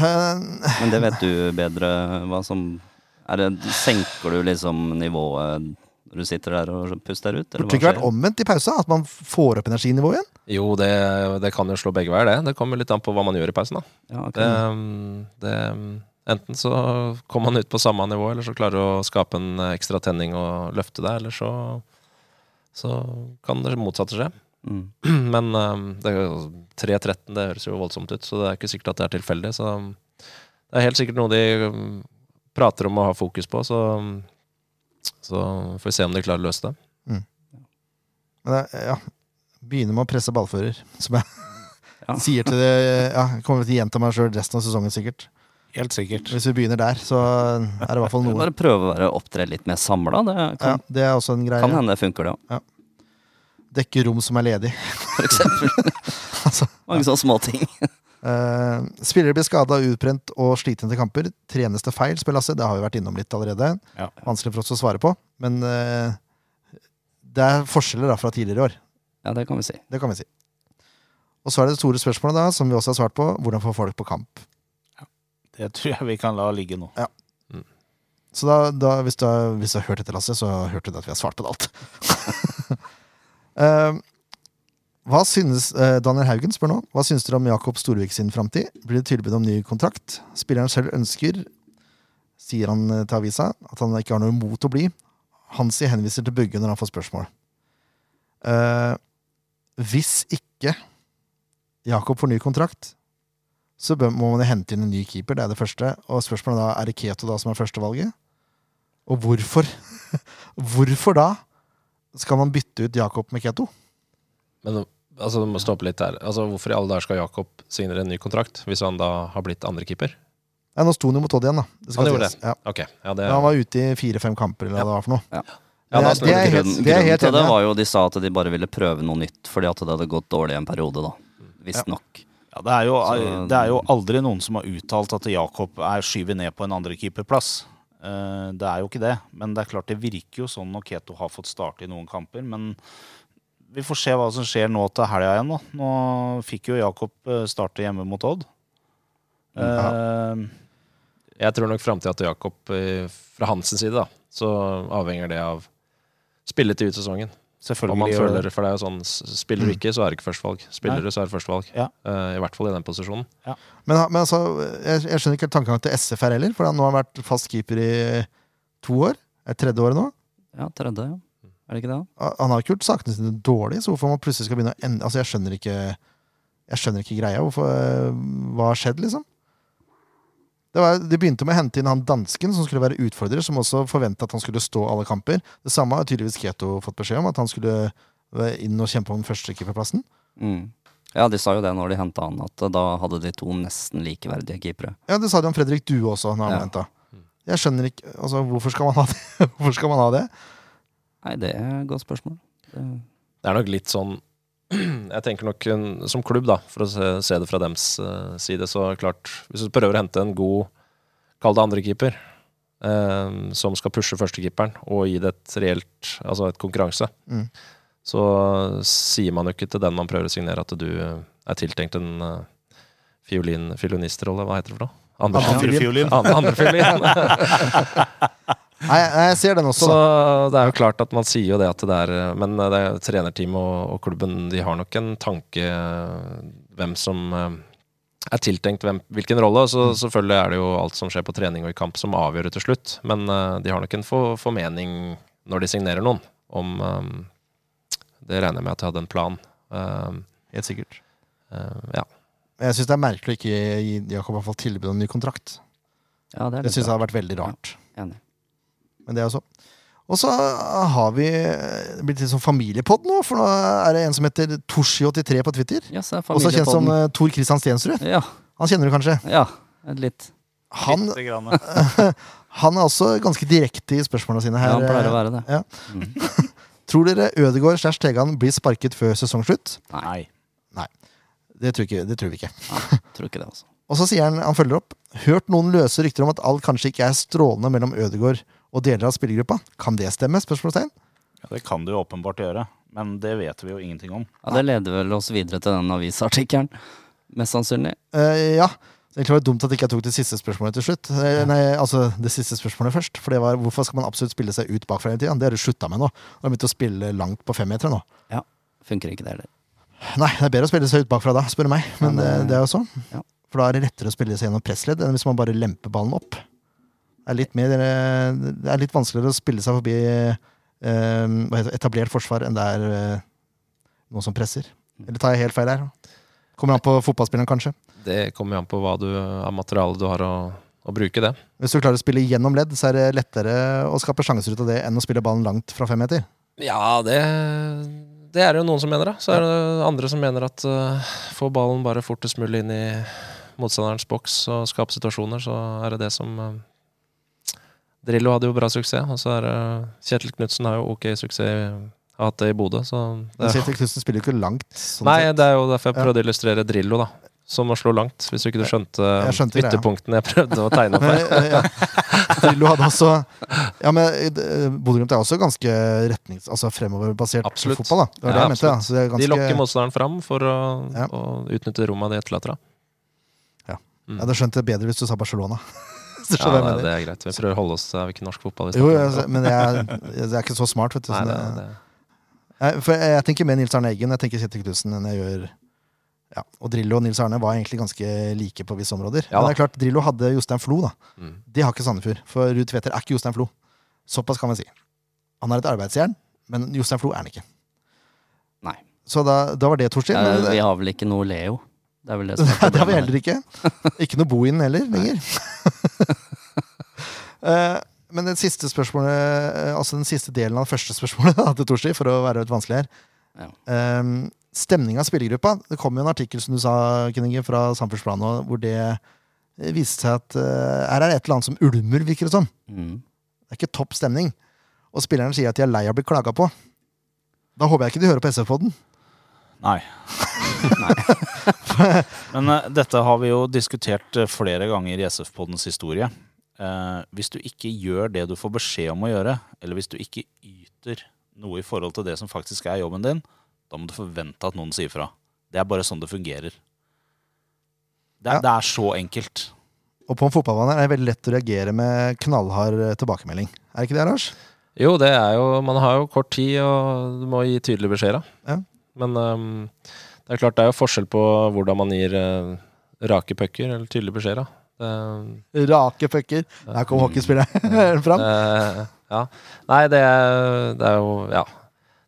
Eh,
Men det vet du bedre hva som er det, Senker du liksom nivået når du sitter der og puster ut?
Burde det ikke vært omvendt i pausa? At man får opp energinivået igjen?
Jo, det, det kan jo slå begge veier, det. Det kommer litt an på hva man gjør i pausen, da.
Ja, ok.
Det, det, enten så kommer man ut på samme nivå, eller så klarer du å skape en ekstra tenning og løfte deg, eller så, så kan det motsatte skje.
Mm.
Men eh, det er jo 3-13 det høres jo voldsomt ut, så det er ikke sikkert at det er tilfeldig. Så ehm, det er helt sikkert noe de mm, prater om å ha fokus på, så, ehm, så får vi se om de klarer å løse det.
Men det, er- ja, begynner med å presse ballfører, som jeg
Ja.
sier til det ja, Jeg kommer til å gjenta meg sjøl resten av sesongen, sikkert.
Helt sikkert.
Hvis vi begynner der, så er det i hvert fall noe.
Bare prøve å være opptre litt mer samla. Det
Ja,
kan,
det er også en greie.
kan hende det funker, det òg.
Dekke rom som er ledig.
For eksempel.
Altså.
Mange sånne småting.
Eh, spillere blir skada, utbrent og slitne til kamper. Trenes det feil, spør Lasse. Det har vi vært innom litt allerede.
Ja.
Vanskelig for oss å svare på. Men eh, det er forskjeller da fra tidligere år.
Ja, det kan vi si.
Det kan vi si. Og så er det det store spørsmålet, da, som vi også har svart på. Hvordan få folk på kamp?
Det tror jeg vi kan la ligge nå.
Så da, da, hvis, du har, hvis du har hørt dette, Lasse, så hørte du at vi har svart på det alt. Eh, hva synes, eh, Daniel Haugen spør nå. Hva synes dere om Jakob Storvik sin framtid? Blir det tilbud om ny kontrakt? Spilleren selv ønsker, sier han eh, til avisa, at han ikke har noe imot å bli. Hansi henviser til Bugge når han får spørsmål. Eh, hvis ikke Jakob får ny kontrakt, så bør, må man jo hente inn en ny keeper. Det er det første. Og spørsmålet da er det Keto da som er førstevalget. Og hvorfor? hvorfor da skal man bytte ut Jakob med Keto?
Men altså, du må stoppe litt der. Altså, hvorfor i alle dager skal Jakob signere en ny kontrakt, hvis han da har blitt andrekeeper?
Nei, nå sto han jo mot Odd igjen, da. Det
Han gjorde
sies. Ja.
Ok, ja, det
Men han var ute i fire-fem kamper, eller hva det var for noe.
Ja.
Ja, da
det, er-
står
det er
det
helt,
Grunnen,
det er
grunnen
helt
til
enig.
det
ja.
var jo de sa at de bare ville prøve noe nytt fordi at det hadde gått dårlig en periode, da. Visstnok.
Ja, det, er jo, eh,
Så-
det er jo aldri noen som har uttalt at Jakob er skyvet ned på en andrekeeperplass. Eh, Det er jo ikke det. Men det er klart det virker jo sånn når Keto har fått starte i noen kamper. Men vi får se hva som skjer nå til helga igjen. Da. Nå fikk jo Jakob eh, starte hjemme mot Odd. Eh,
Jeg tror nok framtida til Jakob eh, fra hans side, da, så avhenger det av spillet i utsesongen. Om man
Selvfølgelig. gjør
føler,
det.
for det er jo sånn, s- Spiller du ikke, så er det ikke førstevalg. Spiller
Nei.
du, så er det førstevalg.
Ja.
Eh, I hvert fall i den posisjonen.
Men, men altså, jeg, jeg skjønner ikke helt tankegangen til SF her heller, for han nå har han vært fast keeper i to år. Er tredje året nå.
Ja, tredje, ja. Er det ikke det?
Han har ikke gjort sakene sine dårlig, så hvorfor man plutselig skal begynne å ende Altså, jeg skjønner ikke Jeg skjønner ikke greia. Hvorfor, eh, hva har skjedd, liksom? Det var, de begynte med å hente inn han dansken som skulle være utfordrer, som også forventa at han skulle stå alle kamper. Det samme har tydeligvis Keto fått beskjed om, at han skulle eh, inn og kjempe om førstekeeperplassen.
Mm. Ja, de sa jo det når de henta han, at da hadde de to nesten likeverdige keepere.
Ja, det sa de om Fredrik Due også, når han
Ja.
ble henta. Jeg skjønner ikke Altså, hvorfor skal man ha det? hvorfor skal man ha det?
Nei, det er et godt spørsmål. Det,
Det er nok litt sånn Jeg tenker nok en- som klubb, da, for å se, se det fra dems eh, side, så klart Hvis du prøver å hente en god, kall det andrekeeper, eh, som skal pushe førstekeeperen og gi det et reelt Altså et konkurranse,
Mm.
så eh, sier man jo ikke til den man prøver å signere, at du eh, er tiltenkt en eh, fiolin, fiolinisterrolle. Hva heter det for noe? Andre,
Andre
fiolin.
Andre, andre fiolin.
Nei, nei, jeg ser den også,
Så
da.
det er jo klart at man sier jo det at det er eh, Men det er trenerteamet og, og klubben de har nok en tanke eh, hvem som eh, er tiltenkt hvem, hvilken rolle. og Så selvfølgelig er det jo alt som skjer på trening og i kamp som avgjør det til slutt. Men eh, de har nok en for, formening når de signerer noen, om eh, Det regner jeg med at de hadde en plan. Eh,
Helt sikkert.
Eh, ja.
Men Jeg syns det er merkelig å ikke gi Jakob i hvert fall tilbud om ny kontrakt.
Ja, det er
Det
litt
syns jeg
bra.
har vært veldig rart.
Enig.
Men det er jo så. Og så har vi blitt litt sånn familiepod nå, for nå er det en som heter Toshi83 på Twitter.
Yes, det er
Også kjent som
familiepodden.
eh, Tor Christian Stensrud.
Ja.
Han kjenner du kanskje.
ja, litt.
Han,
Lite grann.
han er også ganske direkte i spørsmålene sine
Ja,
her.
han pleier
eh,
å være det.
ja.
Mm.
Tror dere Ødegaard slash Tegan blir sparket før sesongslutt?
Nei.
Det tror, ikke, det tror vi ikke.
Tror ikke det, altså.
Og så sier han, han følger opp, hørt noen løse rykter om at alt kanskje ikke er strålende mellom Ødegaard og deler av spillergruppa. Kan det stemme? Spørsmålstegn.
Ja, det kan det jo åpenbart gjøre, men det vet vi jo ingenting om.
Ja, det leder vel oss videre til den avisartikkelen, mest sannsynlig.
Eh, ja. Det er klart det var dumt at ikke jeg tok det siste spørsmålet til slutt. Eh, Nei, altså det siste spørsmålet først. For det var hvorfor skal man absolutt spille seg ut bakfra hele tida? Det har du slutta med nå. Du har begynt å spille langt på femmetere nå.
Funker ikke det heller.
Nei, det er bedre å spille seg ut bakfra da, spør du meg. Men
Ja,
eh,
det-
det er jo sånn.
Ja.
For da er det lettere å spille seg gjennom pressledd enn hvis man bare lemper ballen opp. Det er litt, mer, eh, det er litt vanskeligere å spille seg forbi eh, hva heter, det, etablert forsvar enn det er eh, noen som presser.
Mm.
Eller tar jeg helt feil her? Kommer an på fotballspilleren, kanskje.
Det kommer jo an på hva du, av materialet du har å, å bruke, det.
Hvis du klarer å spille gjennom ledd, så er det lettere å skape sjanser ut av det enn å spille ballen langt fra femmeter.
Ja, det, det er det jo noen som mener, da. Så er det andre som mener at eh, få ballen bare fortest mulig inn i motstanderens boks og skape situasjoner, så er det det som eh, Drillo hadde jo bra suksess, og så er det Kjetil Knutsen har jo ok suksess, i- har hatt det i Bodø, så det
Men
er,
Kjetil Knutsen spiller jo ikke langt. Sånn
Nei,
sett.
det er jo derfor jeg
Ja.
prøvde å illustrere Drillo, da. Som å slå langt, hvis ikke du skjønte,
skjønte greia.
ytterpunktene jeg prøvde å tegne opp
Men,
her.
eh, ja. Drillo hadde også Ja, men eh, Bodø-Glimt er også ganske retnings... Altså fremoverbasert
Absolutt.
fotball, da. Det var det
Ja,
jeg mente. Da. Så det er
De lokker
ganske,
motstanderen fram for å,
Ja.
å utnytte rommet de etterlater. da.
jeg hadde skjønt det bedre hvis du sa Barcelona. Så
Ja,
skjønner jeg hva
nei,
jeg
det
mener.
er greit. Vi prøver å holde oss til hvilken norsk fotball vi
Jo,
snakker om.
jeg, men jeg, jeg er ikke så smart, vet du.
Nei,
sånn
det,
jeg-
det.
Jeg, for jeg, jeg tenker mer Nils Arne Eggen, jeg tenker Kjetil Knutsen enn jeg gjør ja, Og Drillo og Nils Arne var egentlig ganske like på visse områder.
Ja
Men det er
da.
klart, Drillo hadde Jostein Flo, da.
Mm.
Det har ikke Sandefjord. For Ruud Tveter er ikke Jostein Flo. Såpass kan vi si. Han er et arbeidsjern, men Jostein Flo er han ikke.
Nei.
Så da, da var det, Torstein.
Eh,
men-
Vi har vel ikke noe Leo. Det er vel det som er
Nei, det har vi
problemet
heller ikke. Ikke noe Bohin heller lenger. Eh, Men det siste spørsmålet eh, Altså den siste delen av det første spørsmålet da, til Torsi, for å være litt vanskelig her.
Ja.
Um, Stemninga i spillergruppa. Det kom jo en artikkel som du sa, Kenninge, fra Samferdselsplanen, nå, hvor det eh, viste seg at eh, her er det et eller annet som ulmer, virker det som.
der. Mm.
Det er ikke topp stemning. Og spillerne sier at de er lei av å bli klaga på. Da håper jeg ikke de hører på SF-poden.
Nei. Men eh, dette har vi jo diskutert eh, flere ganger i SF-poddens historie. Eh, hvis du ikke gjør det du får beskjed om å gjøre, eller hvis du ikke yter noe i forhold til det som faktisk er jobben din, da må du forvente at noen sier fra. Det er bare sånn det fungerer. Det er,
Ja.
det er så enkelt.
Og på en fotballbane er det veldig lett å reagere med knallhard eh, tilbakemelding. Er det ikke det, Lars?
Jo, det er jo Man har jo kort tid, og du må gi tydelige beskjeder.
Ja.
Men ehm, det er klart det er jo forskjell på hvordan man gir eh, rake pucker eller tydelige beskjeder. da. Det-
Rake pucker. Der kom hockeyspilleren fram.
Eh, ja. Nei, det er, det er jo Ja.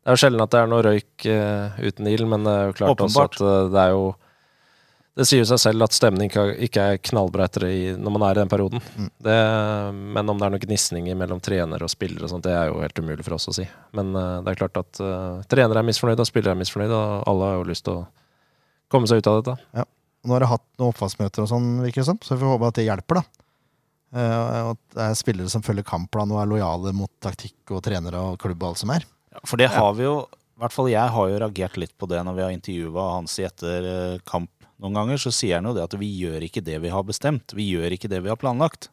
Det er jo sjelden at det er noe røyk eh, uten ild, men det er jo klart
Åpenbart.
også at eh, det er jo Det sier jo seg selv at stemning ikke ikke er knallbra etter det i, når man er i den perioden. Det, men om det er noen gnisninger mellom trener og spillere og sånt, det er jo helt umulig for oss å si. Men eh, det er klart at uh, trenere er misfornøyde, og spillere er misfornøyde, og alle har jo lyst til å komme seg ut av dette.
Nå har jeg hatt noen oppvaskmøter og sånn, virker det som, så vi får håpe at det hjelper, da. Eh, og at det er spillere som følger kampplan og er lojale mot taktikk og trenere og klubb og alt som er.
For det har vi jo I hvert fall jeg har jo reagert litt på det når vi har intervjua Hansi etter eh, kamp noen ganger. Så sier han jo det at vi gjør ikke det vi har bestemt. Vi gjør ikke det vi har planlagt.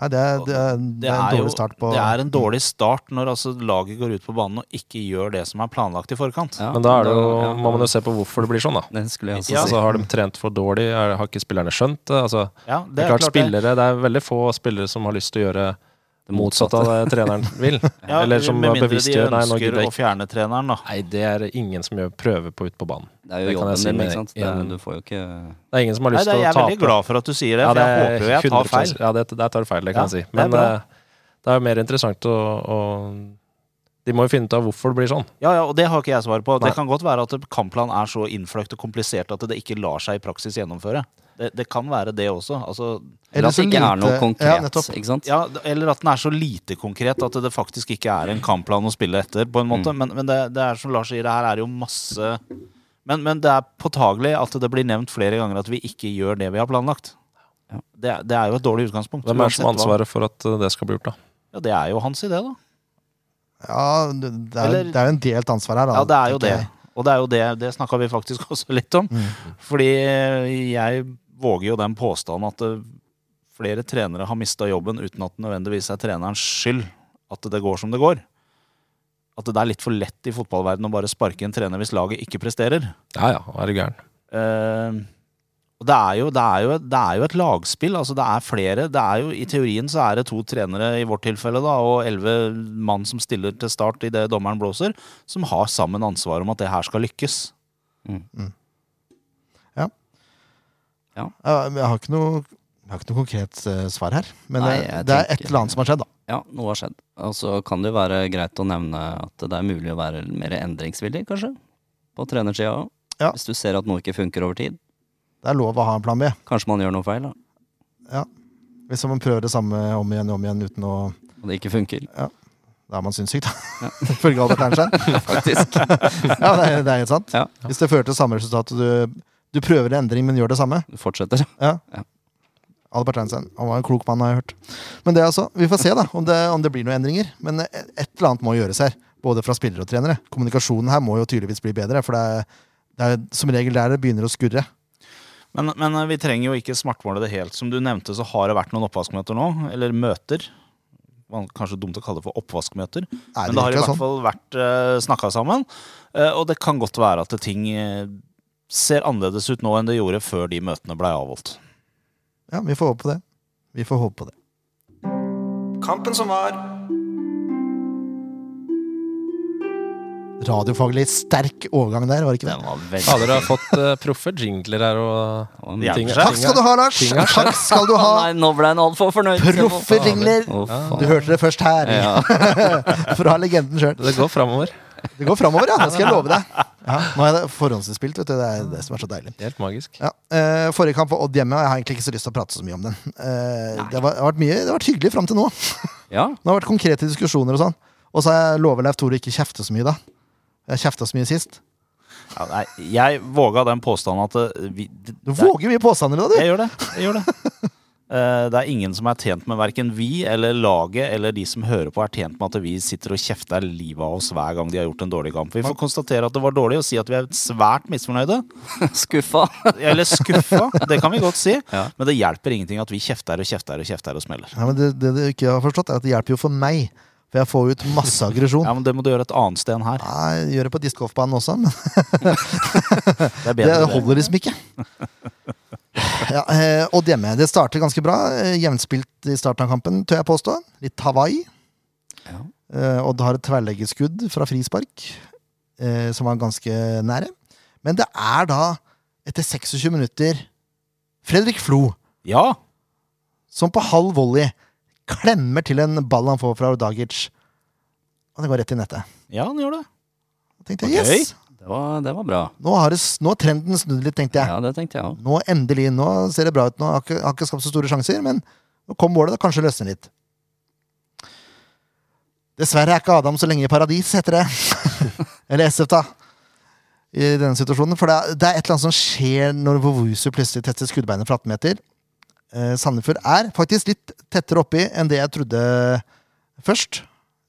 Nei, det er, det er, det er en
jo-
dårlig start på
Det er en dårlig start når altså laget går ut på banen og ikke gjør det som er planlagt i forkant.
Ja,
Men da er det jo,
ja,
må man jo se på hvorfor det blir sånn, da.
Det skulle jeg også
Ja.
si.
Altså, har de trent for dårlig? Er, har ikke spillerne skjønt det? Altså,
Ja,
det, er klart,
det.
spillere, det er veldig få spillere som har lyst til å gjøre det motsatte av det treneren vil.
Ja,
Eller som
med mindre de
bevisstgjør Nei, nå
ønsker
gidder jeg
å
ikke.
fjerne treneren, da.
Nei, det er det ingen som gjør prøve på ute på banen.
Det er jo
Det kan jeg
jobben
si
din,
med
ikke sant. Det,
en-
du får jo ikke
Det er ingen som har
Nei,
lyst
det,
til
jeg
å
er
tape. altså.
veldig glad for at du sier det,
Ja,
for
det
jeg
er
håper jo jeg tar
100%
feil.
Ja, eh, det, der tar du feil, det
Ja,
kan jeg si.
det er
Men
bra.
eh, det er jo mer interessant å, å De må jo finne ut av hvorfor det blir sånn.
Ja, ja, og det har ikke jeg svar på.
Nei.
Det kan godt være at kampplanen er så innfløkt og komplisert at det ikke lar seg i praksis gjennomføre. Det, det kan være det også. Altså,
Eller at det ikke er noe
Ja,
konkret.
nettopp.
ikke sant?
ja, eller at den er så lite konkret at det faktisk ikke er en kampplan å spille etter. på en
Mm.
måte. Men, men det, det er som Lars sier, det her er jo masse men, men det er påtagelig at det blir nevnt flere ganger at vi ikke gjør det vi har planlagt.
Ja.
Det, det er jo et dårlig utgangspunkt.
Hvem er det som har
uansett hva.
ansvaret for at eh, det skal bli gjort, da?
Ja, det er jo hans idé, da.
Ja, det det er,
Eller-
det er jo en delt ansvar her. Da,
Ja, det er jo
tenker
det.
jeg. Mm.
Og det er jo det, det snakka vi faktisk også litt om. Fordi eh, jeg våger jo den påstanden at eh, flere trenere har mista jobben uten at det nødvendigvis er trenerens skyld at det går som det går. At det er litt for lett i fotballverdenen å bare sparke en trener hvis laget ikke presterer.
Ja ja, er du gæren.
Eh, og det er, jo, det, er jo, det er jo et lagspill. Altså det er flere. Det er jo, I teorien så er det to trenere i vårt tilfelle da, og elleve mann som stiller til start idet dommeren blåser, som har sammen ansvar om at det her skal lykkes.
Ja, men Jeg har ikke noe, jeg har ikke noe konkret eh, svar her. Men
Nei,
eh,
jeg
det er et
tenker-
eller annet som har skjedd, da.
Ja, noe har skjedd. Og så kan det jo være greit å nevne at det er mulig å være mer endringsvillig, kanskje. På trenersida òg.
Ja.
Hvis du ser at noe ikke funker over tid.
Det er lov å ha en plan B.
Kanskje man gjør noe feil, da.
Hvis man prøver det samme om igjen og om igjen uten å
Og det ikke funker,
Da er man sinnssyk, da. Følge Albert Einstein.
faktisk.
Ja, det er, det er helt sant.
Ja.
Hvis det fører til samme resultat, og du, du prøver en endring, men gjør det samme.
Du fortsetter.
Albert Einstein. Han var en klok mann, har jeg hørt. Men det er altså, vi får se da, om det, om det blir noen endringer. Men eh, et eller annet må gjøres her. Både fra spillere og trenere. Kommunikasjonen her må jo tydeligvis bli bedre. For det er, det er som regel der det begynner å skurre.
Men, men eh, vi trenger jo ikke smartmåle det helt. Som du nevnte, så har det vært noen oppvaskmøter nå. Eller møter. Man- Kanskje dumt å kalle det for oppvaskmøter.
Nei,
Men det har i
virker
hvert
sånn.
fall vært uh, snakka sammen. Eh, og det kan godt være at ting eh, ser annerledes ut nå enn det gjorde før de møtene blei avholdt.
Ja, vi får håpe på det. Vi får håpe på det.
Kampen som var.
Radiofaglig sterk overgang der, var det ikke det?
Den var veldig
Ja, dere har fått eh, proffe jingler her og
Den
Ja,
var-
ting-
for seg.
Takk skal du ha, Lars!
Ting har skjedd.
Takk skal du ha!
Å Nei, nå ble han altfor fornøyd.
Proffe ringler!
Å,
Du
faen.
hørte det først her,
Ja.
fra legenden sjøl.
Det går framover.
Det går framover, ja. Det skal jeg love deg. Ja, nå er det forhåndsinnspilt, vet du. Det er det som er så deilig.
Helt magisk.
Ja, eh, forrige kamp var Odd hjemme, og jeg har egentlig ikke så lyst til å prate så mye om den. Eh, det, var, det, har vært mye, det har vært hyggelig fram til nå.
Ja,
Det har vært konkrete diskusjoner og sånn. Og så har jeg lover Leif Tore ikke kjefte så mye, da. Jeg kjefta så mye sist.
Ja, nei, jeg våga den påstanden at eh, vi, det,
Du våger mye påstander, da, du!
Jeg gjør det. Jeg gjør det. Eh, det er ingen som er tjent med verken vi eller laget eller de som hører på, er tjent med at vi sitter og kjefter livet av oss hver gang de har gjort en dårlig kamp. Vi får konstatere at det var dårlig, og si at vi er svært misfornøyde.
skuffa.
Eller skuffa. Det kan vi godt si.
Ja.
Men det hjelper ingenting at vi kjefter og kjefter og kjefter og smeller.
Nei, men det, det du ikke har forstått, er at det hjelper jo for meg. For jeg får ut masse aggresjon.
Ja, men Det må du gjøre et annet sted enn her.
Nei, jeg gjør det på diskgolfbanen også, men
Det er
det
bedre.
holder liksom ikke. Ja, eh, Odd hjemme. Det starter ganske bra. Eh, Jevnspilt i starten av kampen, tør jeg påstå. Litt Hawaii.
Ja.
Eh, Odd har et tverrleggerskudd fra frispark, eh, som var ganske nære. Men det er da, etter 26 minutter, Fredrik Flo
Ja,
som på halv volley klemmer til en ball han får fra Ordagic. Og det går rett i nettet.
ja, han gjør det.
Da tenkte jeg,
Ok.
yes,
Det var, det var bra.
nå har, det, s- nå har trenden snudd litt, tenkte jeg.
Ja, det tenkte jeg òg.
Nå endelig, nå ser det bra ut. Nå har ikke, har ikke skapt så store sjanser, men nå kom målet. Det kanskje løsner litt. Dessverre er ikke Adam så lenge i paradis, heter det. Eller SF, da. I denne situasjonen. For det er, det er et eller annet som skjer når Vovusu plutselig tester skuddbeinet fra 18 meter. Eh, Sandefjord er faktisk litt tettere oppi enn det jeg trodde først.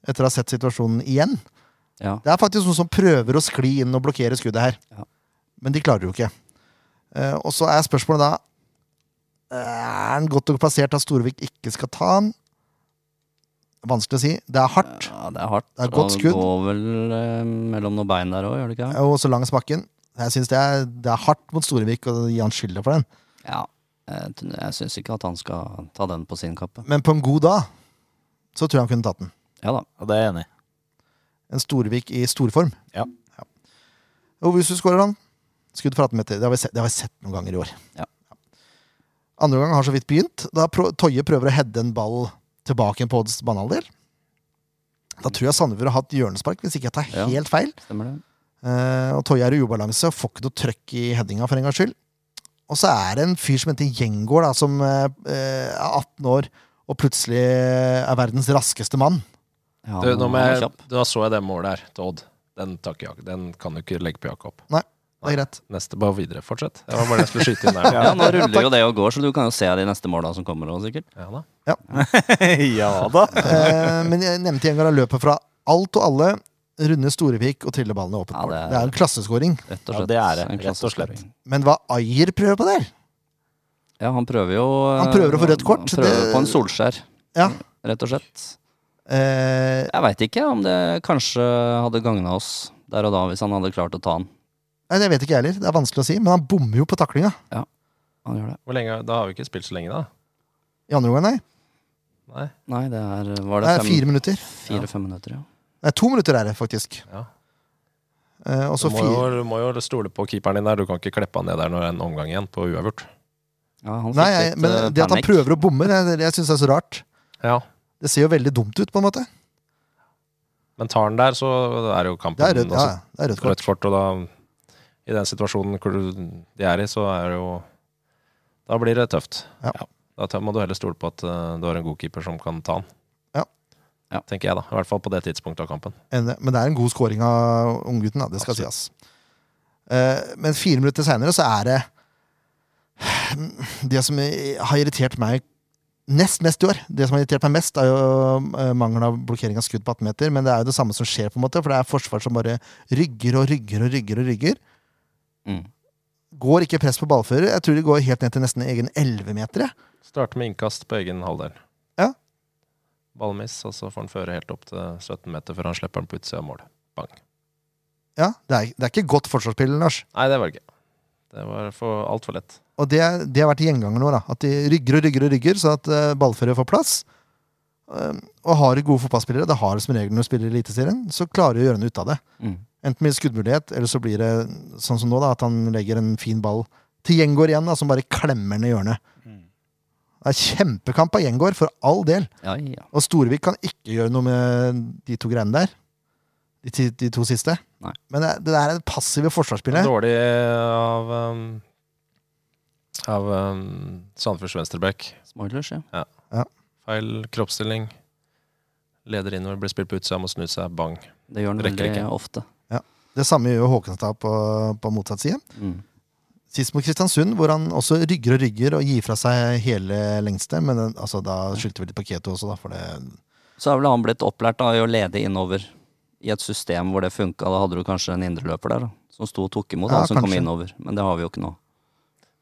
Etter å ha sett situasjonen igjen.
Ja.
Det er faktisk noen som prøver å skli inn og blokkere skuddet her.
Ja.
Men de klarer jo ikke. Eh, og så er spørsmålet da Er han godt nok plassert at Storvik ikke skal ta han? Vanskelig å si. Det er hardt.
Ja, det er hardt.
Det er et godt
og
skudd.
Går vel eh, mellom noen bein der òg, gjør det ikke? det?
Og så langs bakken. Jeg synes det, er, det er hardt mot Storvik å gi han skylda for den.
Ja. Jeg, tyn- jeg syns ikke at han skal ta den på sin kappe.
Men på en god dag så tror jeg han kunne tatt den.
Ja da.
Ja, det er jeg enig i.
En Storvik i storform.
Ja.
ja. Og hvis du skårer han, skudd for 18 meter. Det har vi sett, det har vi sett noen ganger i år.
Ja.
Andre gang har så vidt begynt. Da prø Toje prøver å heade en ball tilbake igjen på Odds banehalvdel. Da tror jeg Sandefjord har hatt hjørnespark, hvis ikke jeg tar
Ja.
helt feil.
Stemmer det?
Eh, og Toje er i ubalanse og får ikke noe trøkk i headinga for en gangs skyld. Og så er det en fyr som heter Gjengård, da, som eh, eh, er 18 år og plutselig er verdens raskeste mann.
Ja,
Du,
han
nå må
var
jeg,
kjapp.
da så jeg det målet her til Odd. Den, takker jeg. den kan du ikke legge på Jakob.
Det er greit.
Neste, bare videre. Fortsett. Det var bare det jeg skulle skyte inn der.
Ja, nå ruller jo det og går, så du kan jo se de neste måla som kommer òg, sikkert.
Ja, da.
ja da.
Eh, men jeg nevnte Gjengård har løpet fra alt og alle, runde Storevik og triller ballene åpent.
Ja,
mål.
det er-
det er en klasseskåring.
Rett og
Ja,
slett.
det er det,
En
rett og slett.
klasseskåring.
Men hva Ayer prøver på der?
Ja, han prøver jo
Han prøver å få rødt kort,
Han prøver
det-
på en Solskjær,
Ja.
rett og slett.
Eh,
Jeg veit ikke om det kanskje hadde gagna oss der og da, hvis han hadde klart å ta han.
nei, det vet ikke jeg heller. Det er vanskelig å si. Men han bommer jo på taklinga.
Han gjør det.
Hvor lenge, da har vi ikke spilt så lenge, da.
I andre omgang, nei.
Nei.
Nei, det er Var
Det
det
er fire minutter.
fire-fem minutter, ja.
Nei, to minutter er det faktisk.
Ja.
Eh, og
Du
så
må,
fire
jo, du må jo stole på keeperen din der. Du kan ikke kleppe han ned der når det er en omgang igjen på uavgjort.
ja han fikk
Nei, jeg,
litt,
men
eh,
det at han
panikk.
prøver å bomme, det, det, jeg synes det er så rart.
Ja.
Det ser jo veldig dumt ut, på en måte.
Men tar han der, så er jo kampen
Det
Mm,
er rødt, ja,
altså,
det er rødt kort.
rødt kort. Og da, i den situasjonen hvor du- de er i, så er det jo Da blir det tøft.
Ja.
Da tar- må du heller stole på at eh, du har en god keeper som kan ta han.
Ja.
Ja.
Tenker jeg, da. I hvert fall på det tidspunktet av kampen.
En, men det er en god scoring av unggutten, da. Det skal sies. Eh, men fire minutter seinere så er det Det som har irritert meg nest mest i år, det som har irritert meg mest, er jo eh, mangelen av blokkering av skudd på 18 meter. Men det er jo det samme som skjer, på en måte, for det er forsvar som bare rygger og rygger og rygger. og rygger.
Mm.
Går ikke press på ballfører. Jeg tror de går helt ned til nesten egen 11-meter. jeg.
Starte med innkast på egen halvdel.
Ja.
Ballmiss, og så får han føre helt opp til 17 meter før han slipper den på utsida av mål.
Ja, det er, det er ikke godt forsvarsspill, Lars.
Nei, det var det ikke. Det var for altfor lett.
Og det, det har vært gjenganger nå, da. At de rygger og rygger og rygger, så at uh, ballførere får plass. Um, og har de gode fotballspillere, det har de som regel når de spiller i Eliteserien, så klarer de å gjøre noe ut av det.
Mm.
Enten med skuddmulighet, eller så blir det sånn som nå, da, at han legger en fin ball til Gjengård igjen, da, som bare klemmer ned hjørnet. Det er kjempekamp av Gjengård, for all del.
Ja, ja.
Og Storvik kan ikke gjøre noe med de to greiene der. De, ti- de to siste.
Nei.
Men det, det er det passive forsvarsspillet.
Dårlig av um, Av um, Sandefjords venstrebekk.
Smoilers, ja.
Feil kroppsstilling. Leder innover, blir spilt på utsida, må snu seg, bang.
Det gjør han
Rekker
veldig
ikke.
ofte.
Det samme gjør jo Håkenstad på, på motsatt side.
Mm.
Sist mot Kristiansund, hvor han også rygger og rygger og gir fra seg hele lengste. Men den, altså, da skyldte vi litt på Keto også, da. For det,
Så er vel han blitt opplært da, i å lede innover i et system hvor det funka. Da hadde du kanskje en indreløper der da, som sto og tok imot
Ja,
han som kom
kanskje.
innover. Men det har vi jo ikke nå.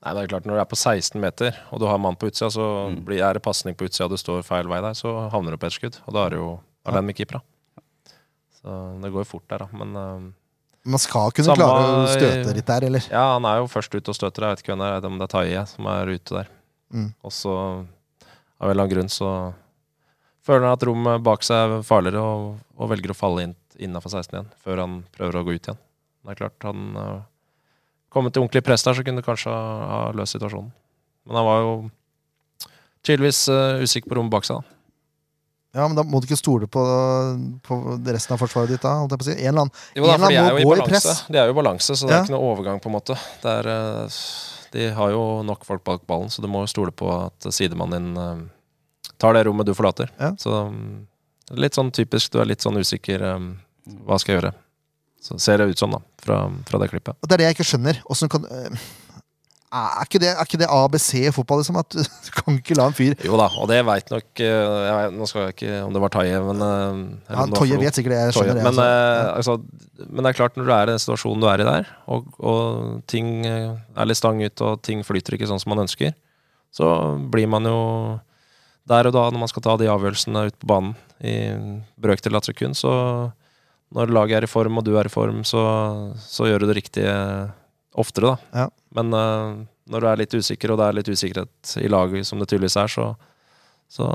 Nei, det er klart, Når du er på 16 meter og du har mann på utsida, så blir, er det pasning på utsida, du står feil vei der, så havner du på et skudd. Og da er du jo alene med keepera. Så det går jo fort der, da. Men um,
man skal kunne
Samme- eh,
klare å støte litt der, eller?
Ja, han er jo først ute og støter. Jeg vet ikke hvem det er, om det er Taye som er ute der.
Mm.
Og så, av en eller annen grunn, så føler han at rommet bak seg er farligere og, og velger å falle inn innafor 16 igjen, før han prøver å gå ut igjen. Det er klart, han øh, kommet til ordentlig press der, så kunne det kanskje ha, ha løst situasjonen. Men han var jo tydeligvis øh, usikker på rommet bak seg. Da.
Ja, men da må du ikke stole på, på resten av forsvaret ditt da, holdt jeg på å si. En eller annen.
Jo da,
Milan
for de er
må
jo i
gå i
balanse.
press.
De er jo i balanse, så det
Ja.
er ikke noe overgang, på en måte. Det er, eh, de har jo nok folk bak ballen, så du må jo stole på at sidemannen din eh, tar det rommet du forlater.
Ja.
Så mm, litt sånn typisk, du er litt sånn usikker eh, Hva skal jeg gjøre? Så ser det ut sånn, da, fra, fra det klippet.
Og det er det jeg ikke skjønner. Hvordan kan øh, er ikke, det, er ikke det ABC i fotball, liksom? At du kan ikke la en fyr
Jo da, og det veit nok eh, jeg vet, Nå skal jeg ikke om det var Taye, men eh, eller
ja,
om det var
Toje
Flo.
vet sikkert det. jeg
Toye.
skjønner det.
men,
altså.
eh, altså, men det er klart, når du er i den situasjonen du er i der, og, og ting eh, er litt stang ut, og ting flyter ikke sånn som man ønsker, så blir man jo der og da, når man skal ta de avgjørelsene ute på banen i brøkdel av et sekund, så når laget er i form, og du er i form, så, så gjør du det riktige oftere, da.
Ja.
Men eh, når du er litt usikker, og det er litt usikkerhet i laget, som det tydeligvis er, så, så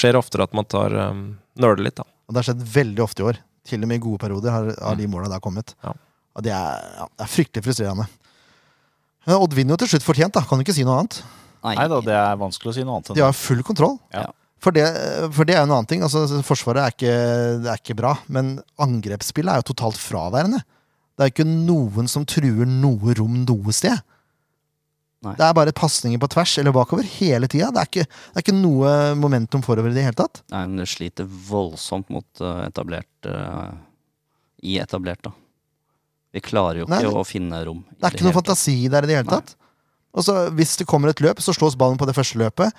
skjer det oftere at man tar eh, nøler litt, da.
Og det har skjedd veldig ofte i år. Til og med i gode perioder har, har de måla der kommet.
Ja.
Og det er, ja, det er fryktelig frustrerende. Men Odd vinner jo til slutt fortjent, da. Kan du ikke si noe annet?
Nei,
Nei da, det er vanskelig å si noe annet enn
De har full kontroll.
Ja.
For det, for det er jo en annen ting. Altså, forsvaret er ikke, det er ikke bra, men angrepsspillet er jo totalt fraværende. Det er ikke noen som truer noe rom noe sted.
Nei.
Det er bare pasninger på tvers eller bakover hele tida. Det, er ikke- det er ikke noe momentum forover i det hele tatt.
Nei, men det sliter voldsomt mot eh, etablert eh, I etablert, da. Vi klarer jo
Nei,
ikke
det-
å finne rom. i
Det er ikke noe
hele tatt.
fantasi der i det hele
Nei.
tatt. Og så Hvis det kommer et løp, så slås ballen på det første løpet.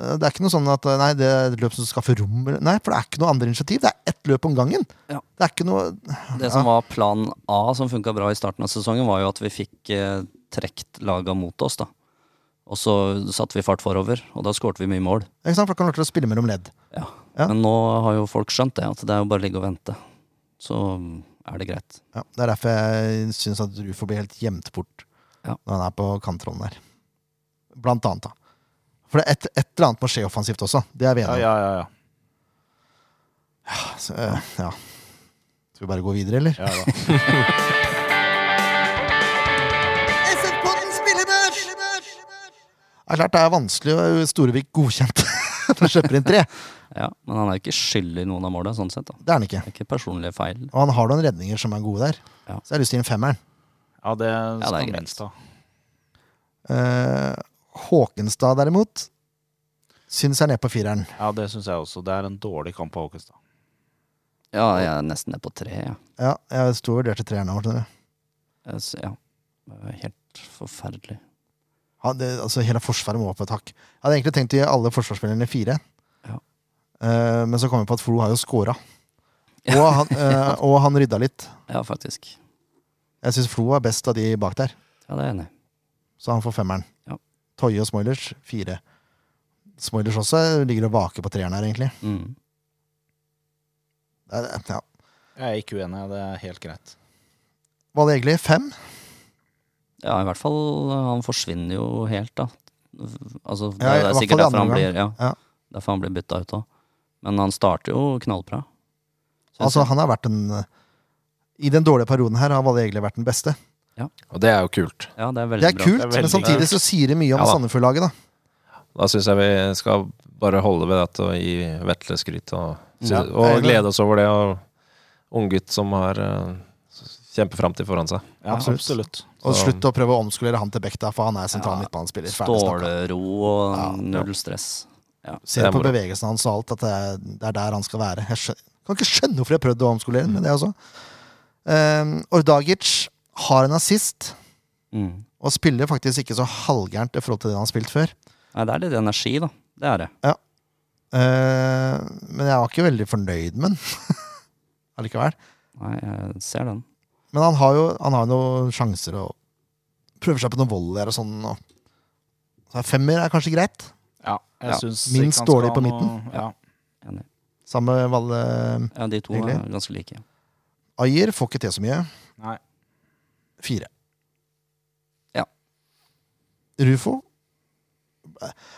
Eh, Det er ikke noe sånn at eh, nei, det er et løp som skaffer rom eller- Nei, for det er ikke noe andre initiativ. Det er ett løp om gangen.
Ja.
Det er ikke noe
Det som var plan A, som funka bra i starten av sesongen, var jo at vi fikk eh, trekt laga mot oss, da. Og så satte vi fart forover, og da skårte vi mye mål.
ikke sant? For kan klare å spille mellom ledd.
Ja.
Ja.
Men nå har jo folk skjønt det, at det er jo bare å ligge og vente. Så mm, er det greit.
Ja, Det er derfor jeg syns at Rufo blir helt gjemt bort
Ja.
når han er på kantrollen der. Blant annet, da. For det er et, et eller annet må skje offensivt også. Det er vi enige
Ja,
om.
ja, ja, ja.
Så, eh, ja. Skal vi bare gå videre, eller?
ja da.
SF-podden spillebørs!
Det er klart det er vanskelig å Storevik godkjent når han slipper inn tre.
Ja, Men han er jo ikke skyldig i noen av måla, sånn sett. da.
Det er han ikke.
Det er ikke personlige feil.
Og han har noen redninger som er gode der.
Ja.
Så jeg har lyst til å gi en femmeren.
ja det skal
greit.
minst, da.
Eh, Håkenstad, derimot, syns jeg er nede på fireren.
Ja, det syns jeg også. Det er en dårlig kamp av Håkestad.
Ja, jeg er nesten ned på tre, jeg.
Ja, jeg sto og vurderte treeren nå, skjønner du.
Jeg s- Eh, Ja. Det er Helt forferdelig.
Han, det, altså, hele forsvaret må opp et hakk. Jeg hadde egentlig tenkt å gi alle forsvarsspillerne fire,
Ja.
Eh, men så kom jeg på at Flo har jo scora. Og, han, eh, og han rydda litt.
Ja, faktisk.
Jeg syns Flo er best av de bak der,
Ja, det er jeg enig i.
så han får femmeren.
Ja.
Toye og Smoilers, fire. Smoilers også ligger og vaker på treeren her, egentlig.
Mm.
Det er- Ja.
Jeg er ikke uenig, det er helt greit.
Valle Egli, fem.
Ja, i hvert fall eh, Han forsvinner jo helt, da. Altså, det,
Ja, i hvert
det er
fall
sikkert
i
derfor han,
andre
blir, ja,
Ja.
derfor han blir bytta ut òg. Men han starter jo knallbra. Synes
Altså,
jeg.
han har vært en I den dårlige perioden her har Valle Egli vært den beste.
Og det er jo kult.
ja, det er veldig
Det er kult,
Det er veldig
men samtidig så sier det mye om
Ja da.
Sandefjord-laget, da.
Da syns jeg vi skal bare holde ved dette og gi Vetle skryt. Og, sy-
Ja, jeg er
og
enig.
glede oss over det. Og unggutt som har eh, kjempeframtid foran seg.
Ja,
Absolutt.
absolutt.
Og
Så-
slutt å prøve å omskolere han til Bekta, for han er sentral
Ja.
midtbanespiller. Ferdig snakka.
Stålero og
Ja.
null stress.
Ser
Det er
på
moro.
bevegelsen hans og alt at det er, det er der han skal være. Jeg skjønner, kan ikke skjønne hvorfor jeg har prøvd å omskolere ham, men det også. Um, Ordagic har en assist,
Mm.
og spiller faktisk ikke så halvgærent i forhold til det han har spilt før.
Nei, det er litt energi, da. Det er det.
Eh, men jeg var ikke veldig fornøyd med han allikevel.
Nei, jeg ser den.
Men han har jo han har noen sjanser og prøver seg på noen volleyer og sånn. Og. Så en femmer er kanskje greit.
Ja, jeg
Ja.
synes
Minst
ikke han skal
dårlig på
ha noe-
midten.
Ja.
Enig.
Samme Valle
Ja, de to
Egentlig.
er ganske like.
Ayer får ikke til så mye.
Nei.
Fire.
Ja.
Rufo.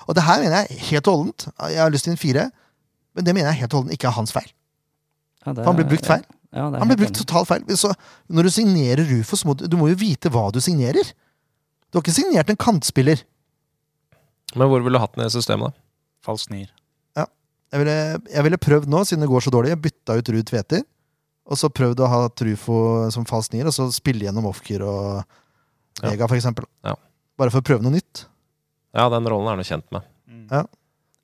Og det her mener jeg helt og holdent. Jeg har lyst til en fire, men det mener jeg helt og holdent ikke er hans feil.
Ja, det,
For han blir brukt feil.
Ja, det er
Han blir
helt
brukt
enig.
totalt feil. Så når du signerer Rufo, så må du, du må jo vite hva du signerer. Du har ikke signert en kantspiller.
Men hvor ville du hatt den i systemet, da?
Falsk nier.
Jeg ville, jeg ville prøvd nå, siden det går så dårlig. Jeg bytta ut Ruud Tveter. Og så prøvd å ha Trufo som falsk nier, og så spille gjennom Ofker og
Ja.
Vega, for eksempel.
Ja.
Bare for å prøve noe nytt.
Ja, den rollen er han jo kjent med.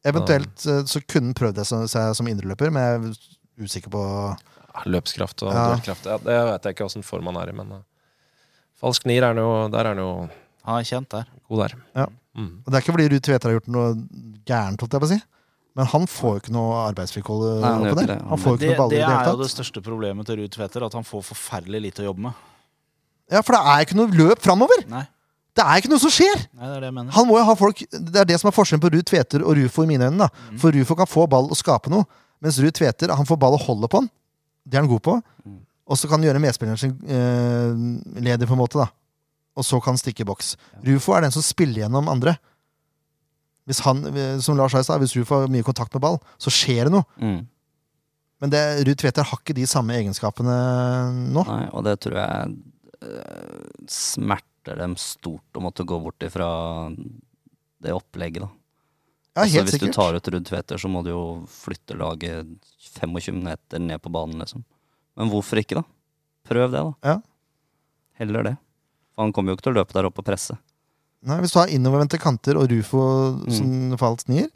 Eventuelt eh, så kunne han prøvd det som, seg som indreløper, men jeg er usikker på
Ja, Løpskraft og
Ja.
duellkraft. Ja, det vet jeg ikke åssen form han er i, men eh, falsk nier er han jo Der er han jo
Han er kjent der.
god der.
Ja.
Mm.
Og Det er ikke fordi Ruud Tveter har gjort noe gærent, holdt jeg på å si. Men han får jo ikke noe arbeidsvilkår eh,
Nei, han gjør
oppå
ikke
der.
det.
Han får jo ikke
Det,
noe baller i det
det er jo
hele
det
tatt.
største problemet til Ruud Tveter, at han får forferdelig lite å jobbe med.
Ja, For det er ikke noe løp framover!
Nei,
Det er ikke noe som skjer!
nei det er det jeg mener.
Han må jo ha folk Det er det som er forskjellen på Ruud Tveter og Rufo i mine øyne.
Mm.
da For Rufo kan få ball og skape noe, mens Ruud Tveter han får ball og holder på den. Det er han god på.
Mm.
Og så kan han gjøre medspilleren sin eh, ledig, på en måte. da Og så kan han stikke i boks. Rufo er den som spiller gjennom andre. Hvis han, eh, som Lars sa i stad, hvis Rufo har mye kontakt med ball, så skjer det noe.
Mm.
Men det, Ruud Tveter har ikke de samme egenskapene nå.
Nei, og det tror jeg eh, smerter dem stort å måtte gå bort ifra det opplegget, da.
Ja,
altså,
helt
hvis
sikkert.
du tar ut Ruud Tveter, så må du jo flytte laget 25 meter ned på banen, liksom. Men hvorfor ikke, da? Prøv det, da.
Ja.
Heller det. For han kommer jo ikke til å løpe der oppe og presse.
Nei, hvis du har innovervendte kanter og Rufo
Mm.
som falsk nier,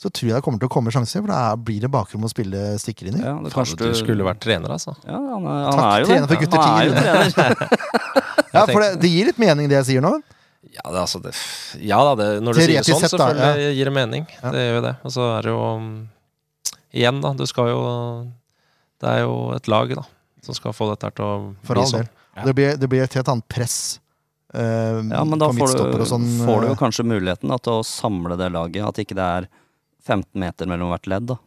så tror jeg det kommer til å komme sjanser, for da er- blir det bakrom å spille stikker inn i.
Ja, det
Kanskje du skulle vært trener, altså.
Ja, han er, han
Takk,
er jo
trener for gutter
Han er jo trener.
Ja, for det, det gir litt mening, det jeg sier nå.
Ja, det, er altså, det, ja da, det, når du sier det
Teoretisk
sånn,
sett, da,
selvfølgelig gir det mening.
Ja.
Det gjør jo det. Og så er det jo mm, Igjen, da. Du skal jo Det er jo et lag, da, som skal få dette her til å
For
bli
all
sånn.
del. Det blir, det blir et helt annet press eh,
Ja, men da
på
får
midtstopper
du,
og sånn.
får du jo
eh,
kanskje muligheten da, til å samle det laget. At ikke det er 15 meter mellom hvert ledd. Da,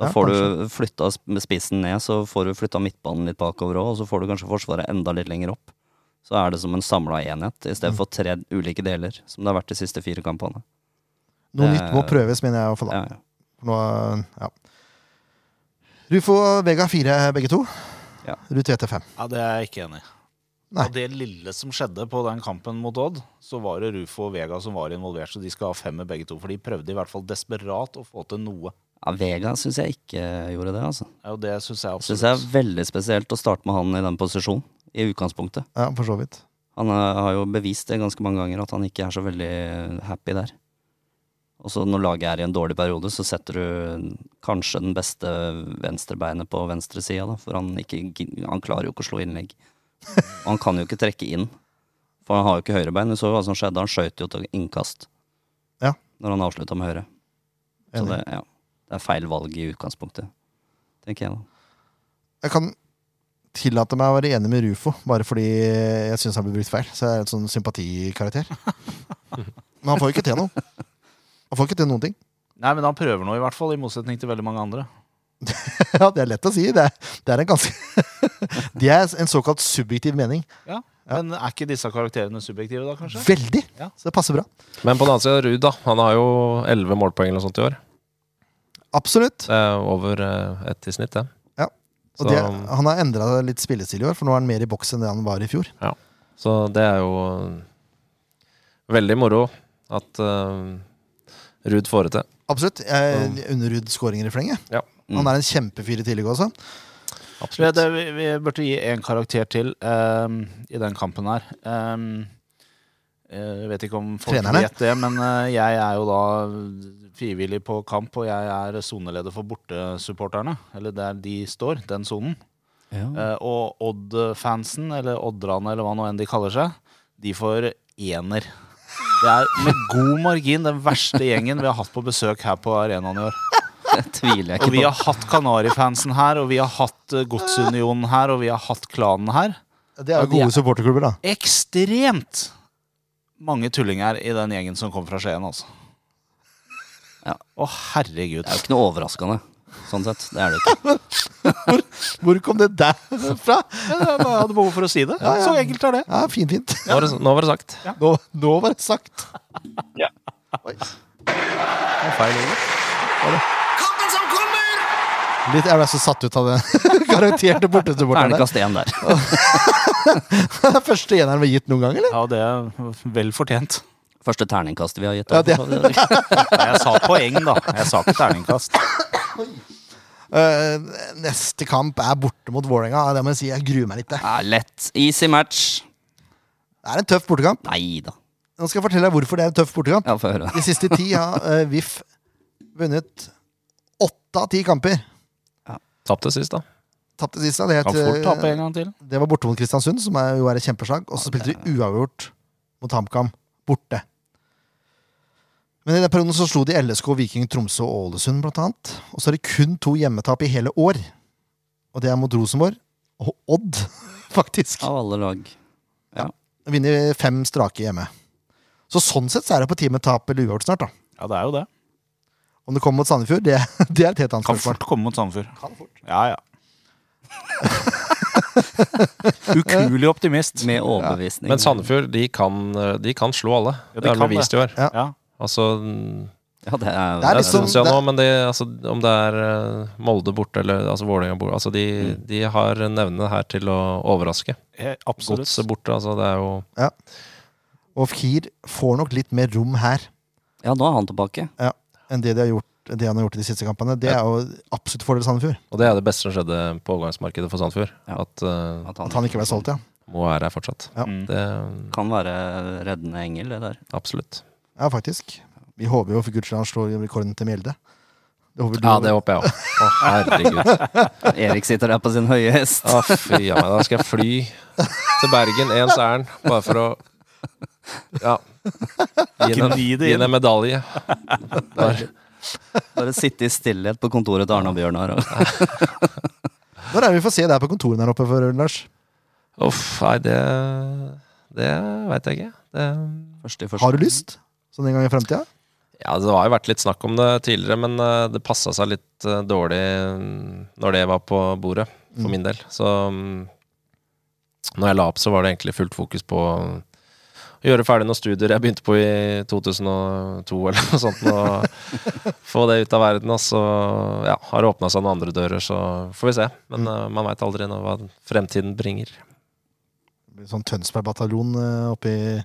da
Ja,
får du flytta sp- spissen ned, så får du flytta midtbanen litt bakover òg, og så får du kanskje Forsvaret enda litt lenger opp. Så er det som en samla enhet, i
Mm.
stedet for tre ulike deler, som det har vært de siste fire kampene.
Noe nytt må
eh,
prøves, mener jeg. i hvert fall, da.
Ja, ja.
Nå, ja. Rufo og Vega fire, begge to.
Ja.
Ruud Tete fem.
Ja, det er jeg ikke enig i.
Nei.
Og det lille som skjedde på den kampen mot Odd, så var det Rufo og Vega som var involvert, så de skal ha femmer begge to. For de prøvde i hvert fall desperat å få til noe.
ja Vega syns jeg ikke gjorde det, altså.
Ja, og det syns jeg
Syns jeg er
absolutt.
veldig spesielt å starte med han i den posisjonen, i utgangspunktet.
Ja, for så vidt.
Han er, har jo bevist det ganske mange ganger at han ikke er så veldig eh, happy der. Og så når laget er i en dårlig periode, så setter du kanskje den beste venstrebeinet på venstre sida, da, for han, ikke, gi- han klarer jo ikke å slå innlegg. Og han kan jo ikke trekke inn, for han har jo ikke høyrebein. Du så jo hva som skjedde, han skøyt jo til innkast
Ja.
når han avslutta med høyre. Så
Enig.
det, ja, det er feil valg i utgangspunktet, tenker jeg da.
Jeg kan tillate meg å være enig med Rufo, bare fordi jeg syns han blir brukt feil. Så jeg er en sånn sympatikarakter. Men han får jo ikke til noe. Han får ikke til noen ting.
Nei, men han prøver noe, i hvert fall, i motsetning til veldig mange andre.
Ja, Det er lett å si. Det er, det er en ganske Det er en såkalt subjektiv mening.
Ja, Men er ikke disse karakterene subjektive, da, kanskje?
Veldig!
Ja.
Så det passer bra.
Men på den annen side, Ruud, da. Han har jo 11 målpoeng eller noe sånt i år.
Absolutt.
Det er over eh, ett i snitt, det.
Ja.
Så- mm,
Og det, han har endra litt spillestil i år, for nå er han mer i boks enn det han var i fjor.
Så det er jo mm, veldig moro at uh, Ruud får det til.
Absolutt. Jeg unner Ruud skåringer i flenge.
Ja.
Han er en kjempefyr i tillegg også.
Vi, det, vi, vi burde gi en karakter til ehm, i den kampen her. Ehm, eh, jeg vet ikke om folk
Trenerne?
vet det, men eh, jeg er jo da frivillig på kamp, og jeg er soneleder for bortesupporterne. Eller der de står, den sonen. Eh, og Odd-fansen, eller Odderne, eller hva nå enn de kaller seg, de får ener. Det er med god margin den verste gjengen vi har hatt på besøk her på arenaen i år.
Det tviler jeg
Og vi
ikke på.
har hatt Kanarifansen her, og vi har hatt eh, Godsunionen her, og vi har hatt Klanen her.
Det er
Ja,
jo
de er-
gode supporterklubber, da.
Ekstremt mange tullinger i den gjengen som kom fra Skien, altså.
Ja.
Å, herregud.
Det er jo ikke noe overraskende, sånn sett. Det er det ikke.
Hvor kom det der fra?
Jeg bare hadde behov for å si det.
Ja, ja.
Så enkelt er det.
Ja, fint, fint.
Nå var det, nå var det sagt.
Nå, nå var det sagt. Oi.
Kampen som kommer!
Litt, jeg ble så satt ut av den garanterte bortesupporteren.
Terningkast én der.
Det er første eneren vi har gitt noen gang, eller?
Ja, det er vel fortjent.
Første terningkastet vi har gitt.
Ja, det-
det...
Nei, Jeg sa poeng, da. Jeg sa ikke terningkast.
Eh, neste kamp er borte mot Vålerenga. Ja, Det må jeg si, jeg gruer meg litt. jeg.
er lett. Easy match.
Det er en tøff bortekamp.
Nei da.
Nå skal jeg fortelle deg hvorfor det er en tøff bortekamp.
Ja, få høre.
De siste ti har eh, VIF vunnet åtte av ti kamper.
Tapte sist, da.
Tapte sist, da. Det,
Kan fort
het,
tape
eh,
en gang til.
det var borte mot Kristiansund, som er, jo er et kjempeslag. Og så spilte de uavgjort mot HamKam. Borte. Men i den perioden så slo de LSK, Viking, Tromsø og Ålesund, blant annet. Og så er det kun to hjemmetap i hele år. Og det er mot Rosenborg og Odd, faktisk.
Av alle lag.
Vinner fem strake hjemme. Så sånn sett så er det på tide med tap eller uavgjort snart, da.
Ja, det er jo det.
Om det kommer mot Sandefjord, det, det er et helt annet
Kan
spørsmål.
fort komme mot Sandefjord. Ja, ja. Ukuelig optimist.
Med overbevisning.
Men Sandefjord de kan, eh, de kan slå alle.
Ja, de
det har
kan
de vist i år.
Ja.
Ja.
Altså, mm,
Ja, det er,
Det er
det
liksom-
syns jeg
det-
nå, men det, altså, om det er eh, Molde borte eller altså, Vålerenga borte altså, de, de har nevnene her til å overraske.
Eh, Absolutt.
Godset borte, altså det er jo
Og Fkir får nok litt mer rom her.
Ja, nå er han tilbake.
Ja. enn det de har gjort det han har gjort i de siste kampene. Det er jo absolutt fordel Sandefjord.
Og det er det beste som skjedde på overgangsmarkedet for Sandefjord.
Ja.
At uh,
At han ikke ble solgt, ja.
Mo er her fortsatt.
Ja.
Mm.
Det eh,
Kan være reddende engel, det der.
Absolutt.
Ja, faktisk. Vi håper jo for guds skyld han slår rekorden til Mjelde. Det håper du
Ja, det håper jeg òg. Å, herregud.
Erik sitter der på sin høye hest.
Å, fy a meg. Da skal jeg fly til Bergen ens ærend, bare for å Ja. Gi henne
Gni det
gi henne
inn.
en medalje. Bare,
Bare sitte i stillhet på kontoret til Arne og Bjørnar. og-
Når er det vi får se deg på kontorene her oppe, for, Lars?
uff, nei, det Det veit jeg ikke. Det
Første i første.
Har du lyst? Sånn en gang i fremtida?
Ja, Det har jo vært litt snakk om det tidligere, men eh, det passa seg litt eh, dårlig mm, når det var på bordet, for min del. Så mm, når jeg la opp, så var det egentlig fullt fokus på mm, å gjøre ferdig noen studier jeg begynte på i 2002 eller noe sånt. Og få det ut av verden. Og så ja, har det åpna seg noen andre dører, så får vi se. Men eh, man veit aldri nå hva fremtiden bringer.
Det blir Sånn Tønsberg-bataljon eh, oppe i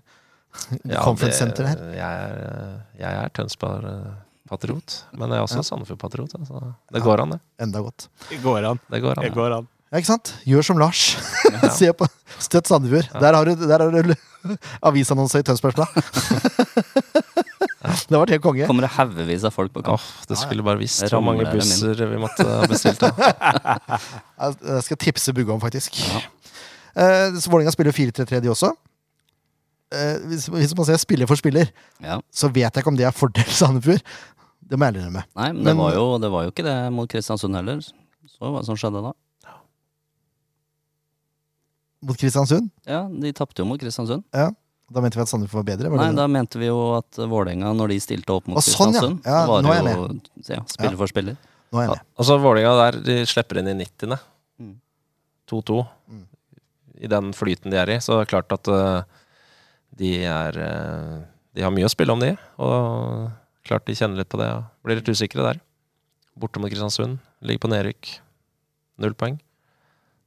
Ja,
Conference
det-
Center her.
Jeg er, eh, jeg er Tønsberg-patriot, men jeg er også Sandefjord-patriot. ja, så Det går an, det.
Enda godt.
Det går an.
Det går an.
Det
ja.
går an.
Ja, ikke sant? Gjør som Lars. Se på Støtt Sandefjord. Der har du, der har du avisannonse i Tønsbergs Blad. det var helt konge.
Kommer det haugevis av folk på kamp?
Åh, det skulle bare visst
Det
hvor mange
ramler dem inn.
busser vi måtte ha bestilt. Da.
Jeg jeg skal tipse Bugge om, faktisk. Eh, så Vålerenga spiller jo 4-3-3, de også. Eh, hvis, hvis man ser spiller for spiller,
Ja.
så vet jeg ikke om det er fordel Sandefjord. Det må jeg ærlig innrømme.
Nei, men,
Men-
det, var jo, det var jo ikke det mot Kristiansund heller. Så hva som skjedde da?
Mot Kristiansund.
Ja, de tapte jo mot Kristiansund.
Da mente vi at Sandefjord var bedre. Var
Nei,
det
da mente vi jo at Vålerenga, når de stilte opp mot
Å, sånn, ja.
Kristiansund,
Ja,
så var
nå er
det
jeg
jo ja, spiller for spiller.
det? Nå er jeg med.
Altså, Vålinga der de slipper inn i 90.
Mm.
2-2.
Mm.
I den flyten de er i, så er det klart at eh, de er eh, De har mye å spille om, de. Og klart de kjenner litt på det. Ja. Blir litt usikre der. Borte mot Kristiansund. Ligger på nedrykk. Null poeng.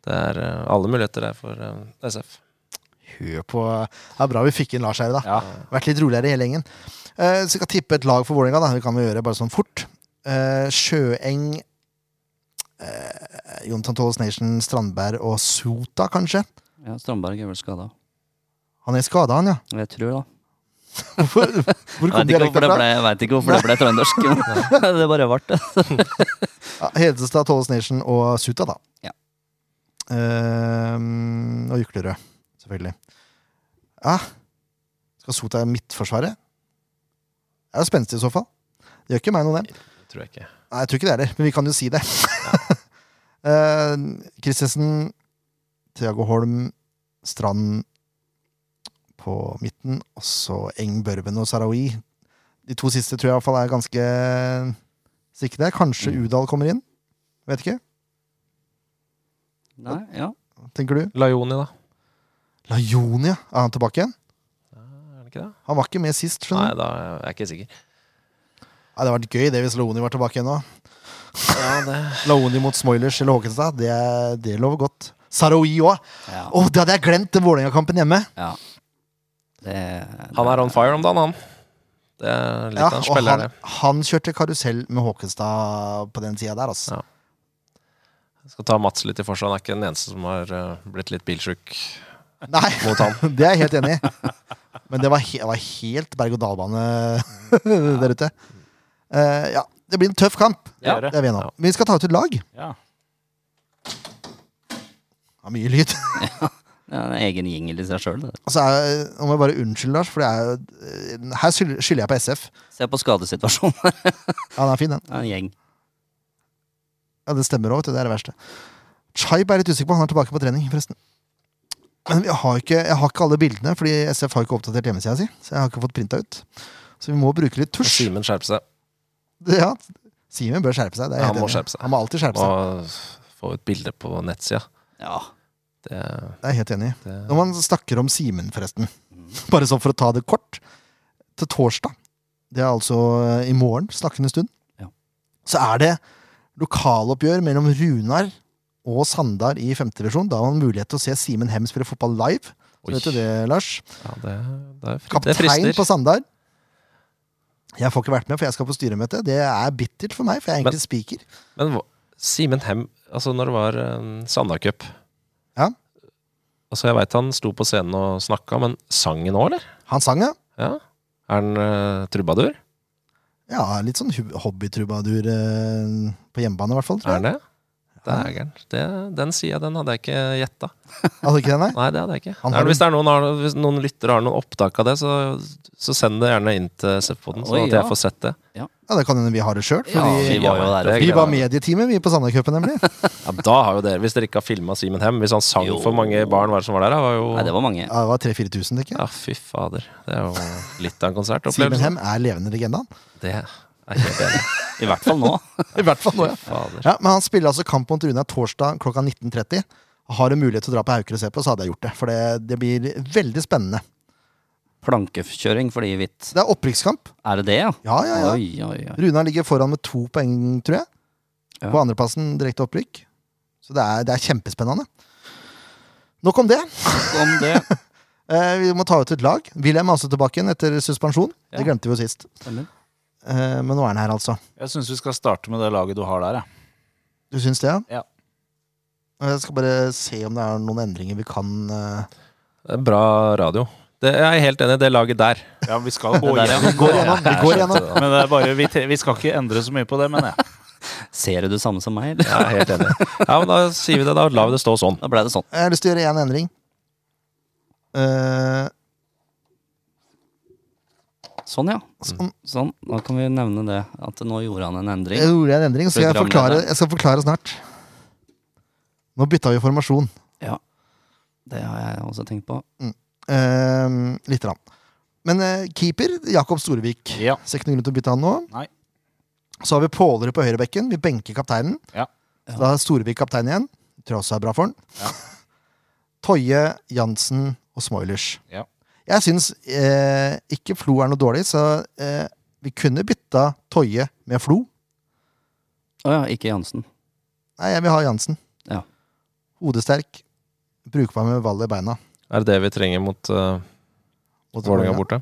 Det er eh, alle muligheter der for eh, SF.
Hør på Det er bra vi fikk inn Lars her i dag.
Ja.
Vært litt roligere i hele gjengen. Eh, så vi skal tippe et lag for Vålerenga. da. Det kan vi gjøre bare sånn fort. Eh, Sjøeng eh, Jon Tantolles Nation, Strandberg og Sota, kanskje.
Ja, Strandberg er vel skada.
Han er skada, han, ja.
Jeg tror da.
Hvor, hvor
Jeg
kom
vet ikke hvorfor
dialekten
det
fra?
ble, jeg vet ikke hvorfor det ble trøndersk. det bare ble det.
Ja, Hedestad, Tolles Nation og Suta, da.
Ja.
Ehm, og Juklerød, selvfølgelig. Ja. Skal Sota i midtforsvaret? Det er jo spenstig i så fall. Det gjør ikke meg noe, det.
Tror jeg ikke.
Nei, jeg tror ikke det heller, men vi kan jo si det. Ehm, Christensen, Thiago Holm, Strand på midten, og så Eng, Børven og Sarawi. De to siste tror jeg i hvert fall er ganske sikre. Kanskje
Mm.
Udal kommer inn. Vet ikke.
Nei, ja.
tenker du?
Laioni, da.
Lajonia, er han tilbake igjen?
Er det ikke det?
Han var ikke med sist,
Nei,
skjønner du.
da er jeg ikke sikker.
Nei, det hadde vært gøy det hvis Laoni var tilbake igjen nå.
Ja, det
Laoni mot Smoilers eller Håkenstad, det, er- det lover godt. Saroui òg.
ja.
Å, det hadde jeg glemt, den Vålerenga-kampen hjemme.
ja. Det,
Han er on fire om dagen, han. Det er litt
Ja,
av en
og
spiller,
han, han kjørte karusell med Håkenstad på den tida der, altså.
Ja. det. Skal ta Mats litt i for seg. Han er ikke den eneste som har eh, blitt litt bilsjuk
Nei,
mot han.
det er jeg helt enig i. Men det var, he det var helt berg-og-dal-bane der ute. Eh, ja, det blir en tøff kamp.
Ja.
Det er vi enige om. Men vi skal ta ut et lag. Det
Ja.
er mye lyd.
ja, det er en egen jingle i seg sjøl.
Og så er, nå må jeg bare unnskylde, Lars, for det er jo Her skylder skylder jeg på SF.
Se på skadesituasjonen.
Ja, den er fin, den.
Det er en gjeng.
Ja, Det stemmer òg, det er det verste. Chaib er litt usikker på. Han er tilbake på trening, forresten. Men vi har ikke, jeg har ikke alle bildene, fordi SF har ikke oppdatert hjemmesida si. Så jeg har ikke fått printa ut. Så vi må bruke litt tusj.
Simen skjerper seg.
Ja, Simen bør skjerpe seg. Det er jeg
Ja, han
helt
må
enig i.
skjerpe seg.
Han må alltid skjerpe seg.
Og få ut bilde på nettsida.
Ja.
Det,
Det er jeg helt enig. i.
det
Når man snakker om Simen, forresten, bare sånn for å ta det kort, til torsdag, det er altså eh, i morgen, snakkende stund,
Ja.
så er det lokaloppgjør mellom Runar og Sandar i femtedivisjon. Da har man mulighet til å se Simen Hem spille fotball live. Så
Oi.
vet du det, Lars?
ja, det, det, er fri, det
Kaptein
frister.
på Sandar. Jeg får ikke vært med, for jeg skal på styremøte. Det er bittert for meg, for jeg er egentlig speaker.
Men hva- Simen Hem, altså når det var um, Sanda Cup
Ja.
Altså Jeg veit han sto på scenen og snakka, men sang han òg, eller?
Han sang, ja.
Ja. Er han eh, trubadur?
Ja, litt sånn hu- hobbytrubadur eh, på hjemmebane, i hvert fall.
Er
Tror jeg.
han det? Dægeren. Det, den sida, den hadde jeg ikke gjetta.
Altså, ikke det, nei?
Nei, det hadde jeg ikke.
Han
Nei,
har
men hvis, det er noen, har- hvis noen lyttere har noen opptak av det, så, så send det gjerne inn til Seff-poden,
Oi,
sånn at
ja.
jeg får sett det.
Ja, det kan hende vi har det sjøl.
Ja, vi var jo der.
Vi var med i teamet, vi på Sandacupen, nemlig.
Ja, da har jo dere, Hvis dere ikke har filma Simen Hem, hvis han sang
Jo.
for mange barn, hva er det som var der? da? Var jo,
Nei, det var mange.
Ja, det var 3000-4000, tenker jeg.
Ja, fy fader. Det er jo litt av en
Simen
konsertopplevelse.
Hem er levende legende, han.
Det er helt enig.
I hvert fall nå.
I hvert fall nå, ja.
Fader.
Ja, men han spiller altså kamp mot Runar torsdag klokka 19.30. Har du mulighet til å dra på Hauker og se på, så hadde jeg gjort det. For det, det blir veldig spennende.
Plankekjøring for de i hvitt.
Det er opprykkskamp.
Er det det, ja?
Ja, ja, ja.
Oi, oi, oi.
Runar ligger foran med to poeng, tror jeg.
Ja.
På andreplassen direkte opprykk. Så det er, det er kjempespennende. Nok om det.
Om det.
Eh, vi må ta ut et lag. Wilhelm er også tilbake igjen etter suspensjon.
Ja.
Det glemte vi jo sist.
Stemmer.
Eh, men nå er han her, altså.
Jeg syns vi skal starte med det laget du har der, jeg.
Du syns det,
Ja.
Jeg skal bare se om det er noen endringer vi kan eh,
Det er Bra radio. Det, jeg er helt enig, det laget der.
Ja, vi skal gå
Det der, ja.
igjennom.
Vi går igjennom. Vi går igjennom.
Men det er bare, vi, tre- vi skal ikke endre så mye på det, mener jeg.
Ser du det samme som meg, eller?
Jeg er helt enig. Ja, men Da sier vi det. Da lar vi det stå sånn.
Da ble det sånn.
Jeg har lyst til å gjøre én endring. Eh,
Sånn, ja.
sånn.
Sånn. Da kan vi nevne det. At nå gjorde han en
Jeg
endring.
gjorde en endring, så jeg, forklare, jeg skal forklare snart. Nå bytta vi formasjon.
Det har jeg også tenkt på.
Uh, litt. Rann. Men eh, keeper Jakob Storevik.
Ja.
Ser ikke noen grunn til å bytte han nå.
Nei.
Så har vi Pålerud på høyrebekken. Vi benker kapteinen.
Ja.
Ja.
Så da er Storevik kaptein igjen. Tror jeg også er bra for han.
Ja.
Toje, Jansen og Smoilers.
Ja.
Jeg syns eh, ikke Flo er noe dårlig, så eh, vi kunne bytta Toje med Flo.
Å ja, ikke Jansen.
Nei, jeg vil ha Jansen.
Ja.
Hodesterk. Brukbar med ball i beina.
Er det det vi trenger mot uh,
Mot
Vålerenga
Vålerenga.
borte?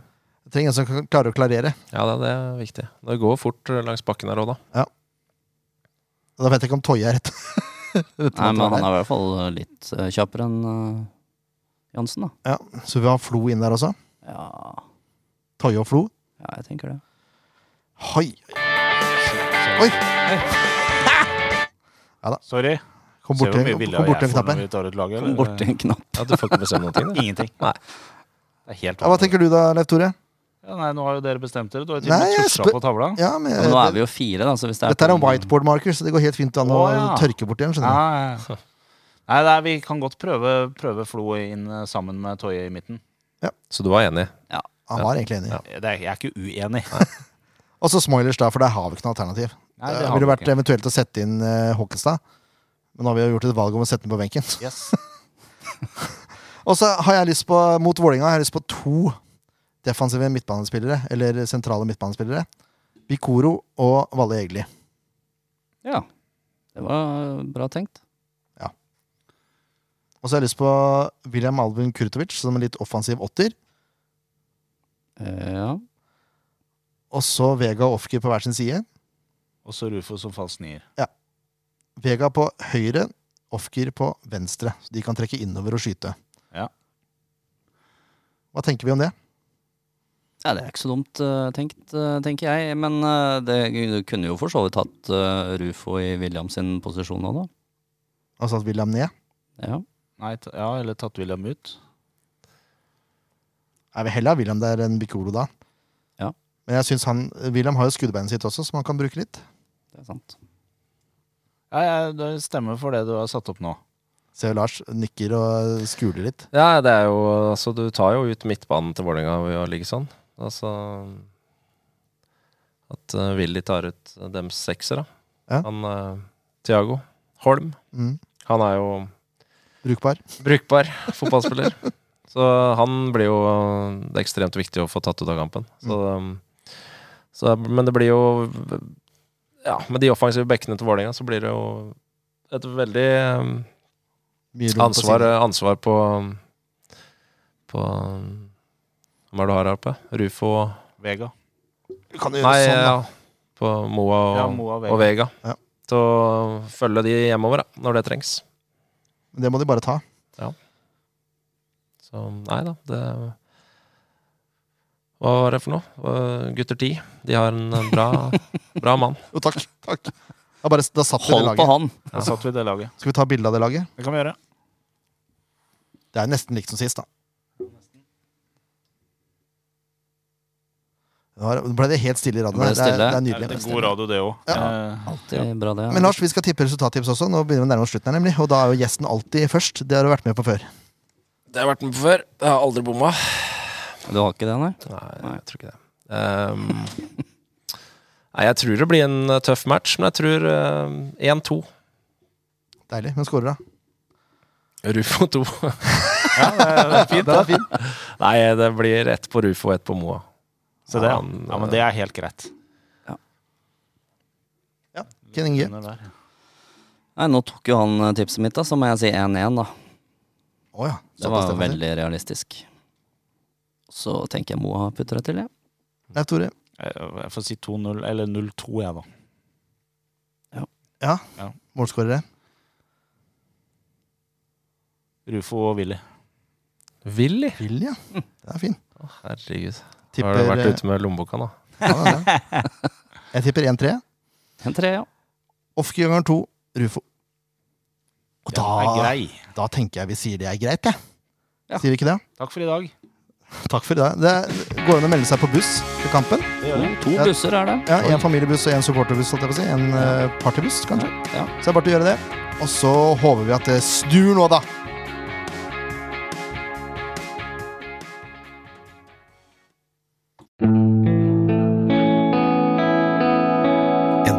Trenger en som kan klare å klarere.
Ja, det, det er viktig. Det går fort eh, langs bakken her òg, da.
Og Da vet jeg ikke om Toje er rett. rett
Nei, men
mann
han
der.
er i hvert fall litt eh, kjappere enn eh, Jansen, da.
ja, så vi har Flo inn der også.
Ja,
Toje og Flo.
ja, jeg tenker det.
Hoi! Oi!
Sorry.
Kom
Ser
borti
du
kom
hvor mye villere
borti
jeg
en
får
knapp
når
her.
vi tar ut laget?
Kom
eller?
borti en knapp.
Ja, du får ikke bestemme noen ting. da.
Ingenting.
Nei.
Det er helt
Ja, hva tenker du da, Leif Tore?
Ja, nei, nå har jo dere bestemt dere. Du har jo til og
Nei,
med
jeg
tusja
spør-
på tavla.
Ja, men,
Men nå er vi jo fire, da, så hvis det er
dette er en
på-
whiteboard marker, så det går helt fint an å
Å, ja.
tørke bort igjen. skjønner du?
Nei, nei, nei, vi kan godt prøve, prøve Flo inn eh, sammen med Toje i midten.
Så du var enig?
Han var egentlig enig.
Ja.
Det er, jeg er ikke uenig.
Og så Smoilers, da, for der har vi ikke noe alternativ.
Nei,
det
har
ville
vi
vært
ikke.
eventuelt å sette inn eh, Håkenstad, men nå har vi jo gjort et valg om å sette den på benken.
Yes.
Og så har jeg lyst på, mot Vålinga, har jeg lyst på to defensive midtbanespillere, eller sentrale midtbanespillere. Bikoro og Valle Egli.
Ja. Det var eh, bra tenkt.
Og så har jeg lyst på William Albin Kurtovic som en litt offensiv åtter.
Eh, ja.
Og så Vega og Ofker på hver sin side.
Og så Rufo som falsk nier.
Vega på høyre, Ofker på venstre. Så de kan trekke innover og skyte.
Ja.
Hva tenker vi om det?
ja, det er ikke så dumt eh, tenkt, eh, tenker jeg. Men eh, det du kunne jo for så vidt hatt eh, Rufo i Williams sin posisjon nå, da.
Altså at William ned?
Ja.
Nei, ta, ja, eller tatt William ut.
Jeg vil heller ha William der enn Bikolo da.
Ja.
Men jeg synes han, William har jo skuddbeinet sitt også, som han kan bruke litt.
Det er sant.
Ja, jeg det stemmer for det du har satt opp nå.
Ser jo Lars nikker og skuler litt.
Ja, det er jo Altså, du tar jo ut midtbanen til Vålerenga ved å ligge sånn. Altså At eh, Willy tar ut dem seksere.
Ja.
Han eh, Thiago Holm.
Mm.
Han er jo
Brukbar.
brukbar fotballspiller. så han blir jo Det er ekstremt viktig å få tatt ut av kampen. Så, um, så, men det blir jo Ja, med de offensive bekkene til Vålerenga, så blir det jo et veldig eh,
Mye rom på
Ansvar, eh,
siden.
ansvar på På Hvem er det du har her oppe? Rufo og
Vega.
Du kan jo gjøre
Nei,
sånn, da.
ja, på Moa og,
Ja, Moa og Vega.
og Vega.
Ja.
Så følge de hjemover da, når det trengs.
Men Det må de bare ta.
Så nei da, det Hva var det for noe? Eh, Gutter 10. De har en eh, bra, bra mann.
Jo, takk. takk. Da, bare, da satt vi det
Hold
laget.
på han!
Da satt vi i det laget.
Skal vi ta bilde av det laget?
Det kan vi gjøre.
Det er nesten likt som sist, da. Nå har- Nå ble det helt stille i radioen.
Nå ble
her. Det,
det
er-
stille.
det er
Det er
nydelig.
litt god radio, det òg. Eh,
Alltid bra, det.
Men Lars, vi skal tippe resultattips også. Nå begynner vi å nærme oss slutten her, nemlig. Og da er jo gjesten alltid først. Det har du vært med på før.
Det har vært med på før. Jeg har aldri bomma.
Du har ikke det, nei?
Nei, jeg tror ikke det. Ehm, nei, jeg tror det blir en eh, tøff match, men jeg tror eh, 1-2.
Deilig. Men scorer, da?
Rufo 2.
ja, det er fint, da.
Nei, det blir ett på Rufo og ett på Moa.
Så det, ja.
Han,
ja, men det er helt greit.
Ken Inge.
Under der.
nei. Nå tok jo han eh, tipset mitt, da, så må jeg si 1-1, da.
Å ja.
Det
Såpass,
var
det, faktisk.
veldig realistisk. Så tenker jeg Moa putter det til, jeg.
Leif Tore.
Jeg Eh, jeg får si 2-0, eller 0-2, jeg, da.
Målskårere.
Rufo og Willy.
Willy?
Vil, ja. Det er fin.
Å, Herregud.
Tipper,
har du
eh,
vært ute med lommeboka, da?
Ja, ja, ja. Jeg tipper 1-3.
En tre, ja.
Offganger 2, Rufo. Og
Den er
da,
grei.
da tenker jeg vi sier det er greit, jeg.
Ja.
Sier vi ikke det?
Takk for i dag.
Takk for i dag. Det går an å melde seg på buss til kampen.
Det
To,
gjør vi.
to
Ja.
busser er det.
Ja, En familiebuss og en supporterbuss. holdt jeg på å si. En eh, partybuss, kanskje.
Ja.
Så det er bare til å gjøre det. Og så håper vi at det snur nå, da.
En